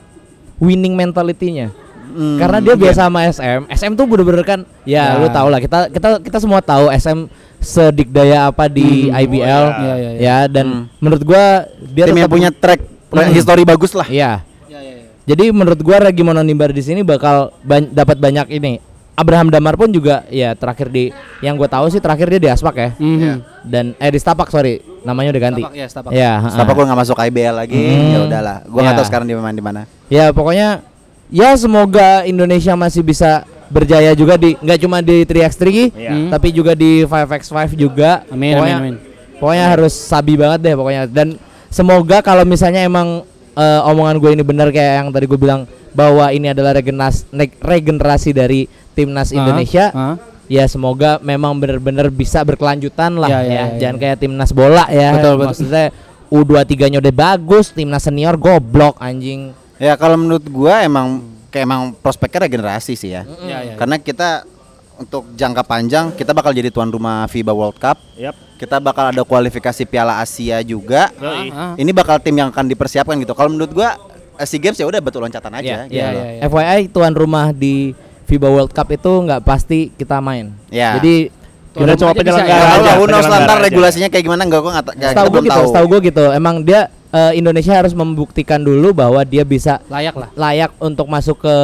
E: winning mentality-nya.
D: Hmm,
E: Karena dia
D: iya.
E: biasa sama SM. SM tuh bener-bener kan ya,
F: Ya.
E: lu tau lah kita kita kita semua tahu SM sedikdaya apa di
F: Hmm.
E: IBL.
A: Oh,
F: ya. Ya, ya, ya.
E: dan
D: Hmm.
E: menurut gua dia
D: Tim yang
E: tetap-
D: punya track
E: Hmm.
D: history bagus lah.
E: [laughs] Iya.
F: Ya, ya, ya.
E: Jadi menurut gua Regi Mononimbar di sini bakal ban- dapat banyak ini. Abraham Damar pun juga ya terakhir di yang gua tahu sih terakhir dia di Aspak ya.
D: Hmm.
F: Mhm.
E: Dan eh di Stapak sorry, namanya udah ganti.
F: Setapak, ya, setapak.
E: Ya,
D: Setapak gua nggak masuk IBL lagi,
E: Hmm.
D: ya udahlah. Gua nggak
E: Ya.
D: tahu sekarang dia main di mana.
E: Ya pokoknya ya semoga Indonesia masih bisa berjaya juga di nggak cuma di 3x3
A: Iya.
F: Hmm.
E: tapi juga di 5x5 juga.
F: Amin,
E: pokoknya,
F: amin, amin.
E: Pokoknya harus sabi banget deh pokoknya dan semoga kalau misalnya emang eh, omongan gue ini benar kayak yang tadi gue bilang bahwa ini adalah regenerasi regenerasi dari timnas
F: Ah,
E: Indonesia.
F: ah.
E: Ya semoga memang benar-benar bisa berkelanjutan lah
F: Ya,
E: ya.
F: ya, ya,
E: Jangan
F: ya.
E: kayak timnas bola ya.
F: Betul, betul.
E: Maksudnya U23-nya udah bagus, timnas senior goblok anjing.
D: Ya kalau menurut gua emang kayak emang prospeknya regenerasi sih ya.
F: Ya, ya, ya.
D: Karena kita untuk jangka panjang kita bakal jadi tuan rumah FIBA World Cup.
A: Yap.
D: Kita bakal ada kualifikasi Piala Asia juga.
A: Yoi.
F: Ah, ah.
D: Ini bakal tim yang akan dipersiapkan gitu. Kalau menurut gua eh, SEA Games ya udah batu loncatan
E: Iya,
D: aja gitu
E: iya,
D: loh.
E: iya, iya. FYI tuan rumah di FIBA World Cup itu nggak pasti kita main.
D: Ya.
E: Jadi
F: Tuan
A: Udah
F: rumah
A: cuma
F: aja bisa
A: penyelenggara
E: Iya,
D: Ya,
F: ya.
D: tahu lah,
A: aja,
D: who knows lah,
A: penyelenggara
D: ntar
A: aja.
D: regulasinya kayak gimana enggak gua nggak ta- nggak-
E: setahu gue
D: kita belum
E: gitu,
D: tahu.
E: setahu gue gitu. Emang dia eh, Indonesia harus membuktikan dulu bahwa dia bisa
F: Layak lah.
E: layak untuk masuk ke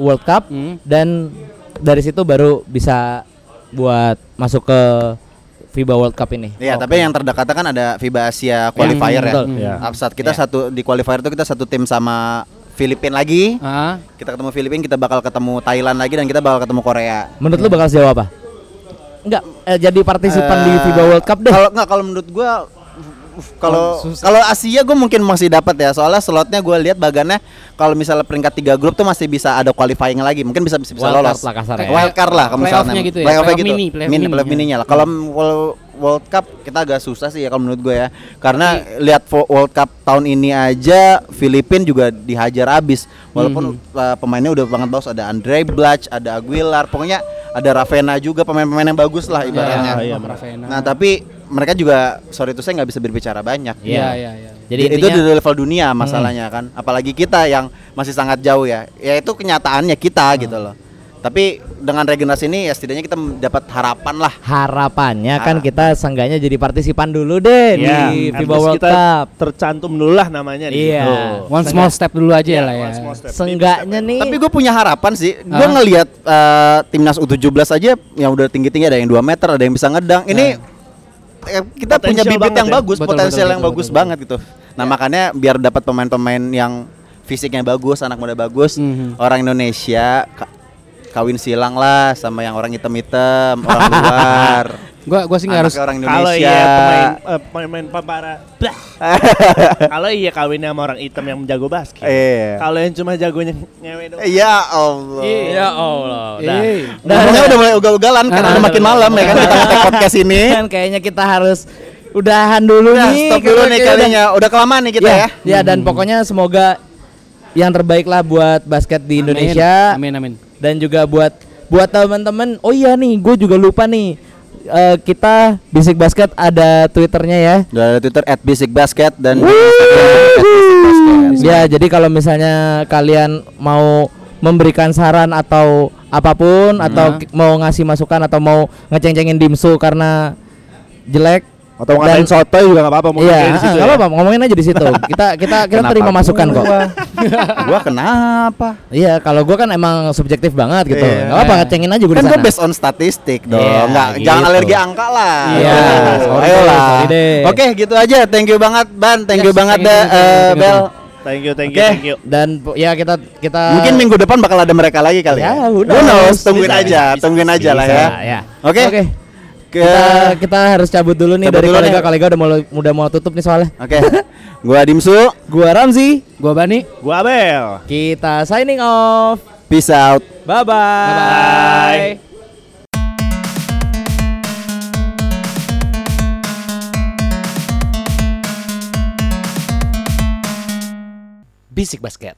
E: World Cup
F: Hmm.
E: dan dari situ baru bisa buat masuk ke FIBA World Cup ini.
D: Iya, tapi yang terdekatnya kan ada FIBA Asia qualifier ya.
E: Iya, betul.
A: Iya.
D: Upset kita
E: Iya.
D: satu di qualifier itu kita satu tim sama Filipina lagi.
F: Ah,
D: Kita ketemu Filipina, kita bakal ketemu Thailand lagi dan kita bakal ketemu Korea.
E: Menurut lu bakal sejauh apa? Enggak, eh, jadi partisipan di
D: Eh,
E: FIBA World Cup deh.
D: Kalau nggak kalau menurut gua uf, kalau
F: susah.
D: kalau Asia gue mungkin masih dapat ya soalnya slotnya gue lihat bagannya kalau misalnya peringkat tiga grup tuh masih bisa ada qualifying lagi mungkin bisa bisa, bisa
E: Wild
D: lolos
E: card lah kasarnya.
D: wild card lah kalau
F: Playoff-nya
D: misalnya
F: gitu ya,
D: Playoff-nya
F: playoff
D: gitu.
F: mini, playoff
D: mini
F: mini.
D: playoff mininya lah kalau World, World Cup kita agak susah sih ya kalau menurut gue ya karena lihat Vo- World Cup tahun ini aja Filipina juga dihajar abis walaupun uh, pemainnya udah banget bagus ada Andre Blatch ada Aguilar pokoknya ada Ravena juga pemain-pemain yang bagus lah ibaratnya
F: ya,
A: iya,
F: Bang Ravena.
D: Nah, tapi mereka juga sorry itu saya nggak bisa berbicara banyak.
E: Iya.
F: Iya, iya, iya.
E: Jadi
D: Di- itu
E: intinya Hmm.
D: di level dunia masalahnya kan. Apalagi kita yang masih sangat jauh ya. Ya itu kenyataannya kita
E: Hmm.
D: gitu loh. Tapi dengan regenerasi ini ya setidaknya kita mendapat harapan lah.
E: harapannya kan kita seenggaknya jadi partisipan dulu deh
A: Iya,
E: di
A: at
E: FIBA
A: least
E: World
A: kita
E: Cup.
A: tercantum dulu lah namanya di
E: Iya.
A: situ.
F: One small step dulu aja
A: Iya,
F: lah ya.
A: one small step.
E: Seenggaknya nih
F: Iya.
D: Tapi gue punya harapan sih. Gue
F: Ah.
D: ngelihat eh, timnas U17 aja yang udah tinggi-tinggi ada yang 2 meter, ada yang bisa ngedang. Ini eh, kita
A: Potensial
D: punya bibit
A: banget
D: yang
A: ya.
D: bagus,
F: Nah. Betul,
D: potensial
F: betul,
D: yang
F: betul,
D: bagus
F: betul,
D: banget gitu. Nah, makanya biar dapat pemain-pemain yang fisiknya bagus, anak muda bagus,
F: Mhm.
D: orang Indonesia ka- kawin silang lah sama yang orang hitam-hitam,
F: [laughs]
D: orang luar.
F: Gua gua sih nggak harus
D: anaknya orang
A: Kalau
D: Indonesia.
A: iya pemain eh, pemain para
D: [laughs]
A: Kalau iya kawinnya sama orang hitam yang jago basket.
D: Iya.
A: Kalau yang cuma jagonya ngewe doang.
D: Ya Allah.
A: Iya.
G: Ya Allah. dah.
F: Eh,
D: Ngomongnya udah mulai ugal-ugalan karena
F: Nah,
D: udah makin malam ya kan kita ngetek podcast
F: [laughs]
D: ini.
E: kan kayaknya kita harus udahan dulu
D: Udah,
E: nih. kan
D: Nah, stop dulu
E: karena
D: nih
E: kayaknya
D: kalinya. Udah kelamaan nih kita ya.
E: Ya dan
A: Hmm.
E: pokoknya semoga yang terbaik lah buat basket di
F: amin.
E: Indonesia
F: Amin amin.
E: dan juga buat buat teman-teman. Oh iya nih, gue juga lupa nih. Eh, kita Bisik Basket ada twitternya ya.
D: Udah ada Twitter @basicbasket dan Iya,
E: Ya jadi kalau misalnya kalian mau memberikan saran atau apapun
D: Hmm.
E: atau ki- mau ngasih masukan atau mau ngeceng-cengin dimsu karena jelek
A: Atau
E: dan-
A: ngatain soto juga enggak apa-apa mungkin
E: Iya,
A: di situ.
E: nggak
A: ya.
E: apa-apa, ngomongin aja di
D: [laughs]
E: situ. Kita kita kita terima masukan kok.
D: gua kenapa?
E: Iya, kalau gua kan emang subjektif banget gitu. Nggak
D: Iya.
E: apa-apa, ngecengin aja gua di
D: Kan gua
E: sana.
D: based on statistik dong.
E: Iya,
D: Enggak,
E: gitu.
D: jangan alergi angka lah.
E: Iya, sorry
D: Aduh, Ayo
E: deh,
D: lah.
E: sorry deh.
D: Oke, gitu aja. Thank you banget Ban, thank
F: Yes,
D: you banget
F: thank
D: deh
F: you, thank you,
D: eh,
F: thank you,
D: Bel.
F: thank
A: Thank you, thank you,
D: Oke.
A: thank you.
E: Dan po- ya kita kita
D: Mungkin minggu depan bakal ada mereka lagi kali
E: Ya,
D: ya.
E: who
D: Who knows?
E: knows?
D: Tungguin
E: Bisa,
D: aja, tungguin aja lah
E: bisa,
D: ya.
E: ya.
D: Oke. Ke
E: Kita, kita harus cabut dulu nih
D: Cabut
E: dari
D: dulu
E: kolega
D: nih.
E: kolega udah mau udah mau tutup nih soalnya.
D: Oke. Gua Dimsu.
E: Gua Ramzi.
F: Gua Bani.
A: Gua Abel.
E: Kita signing off.
D: Peace out.
E: Bye bye.
A: Bye-bye.
F: Bisik basket.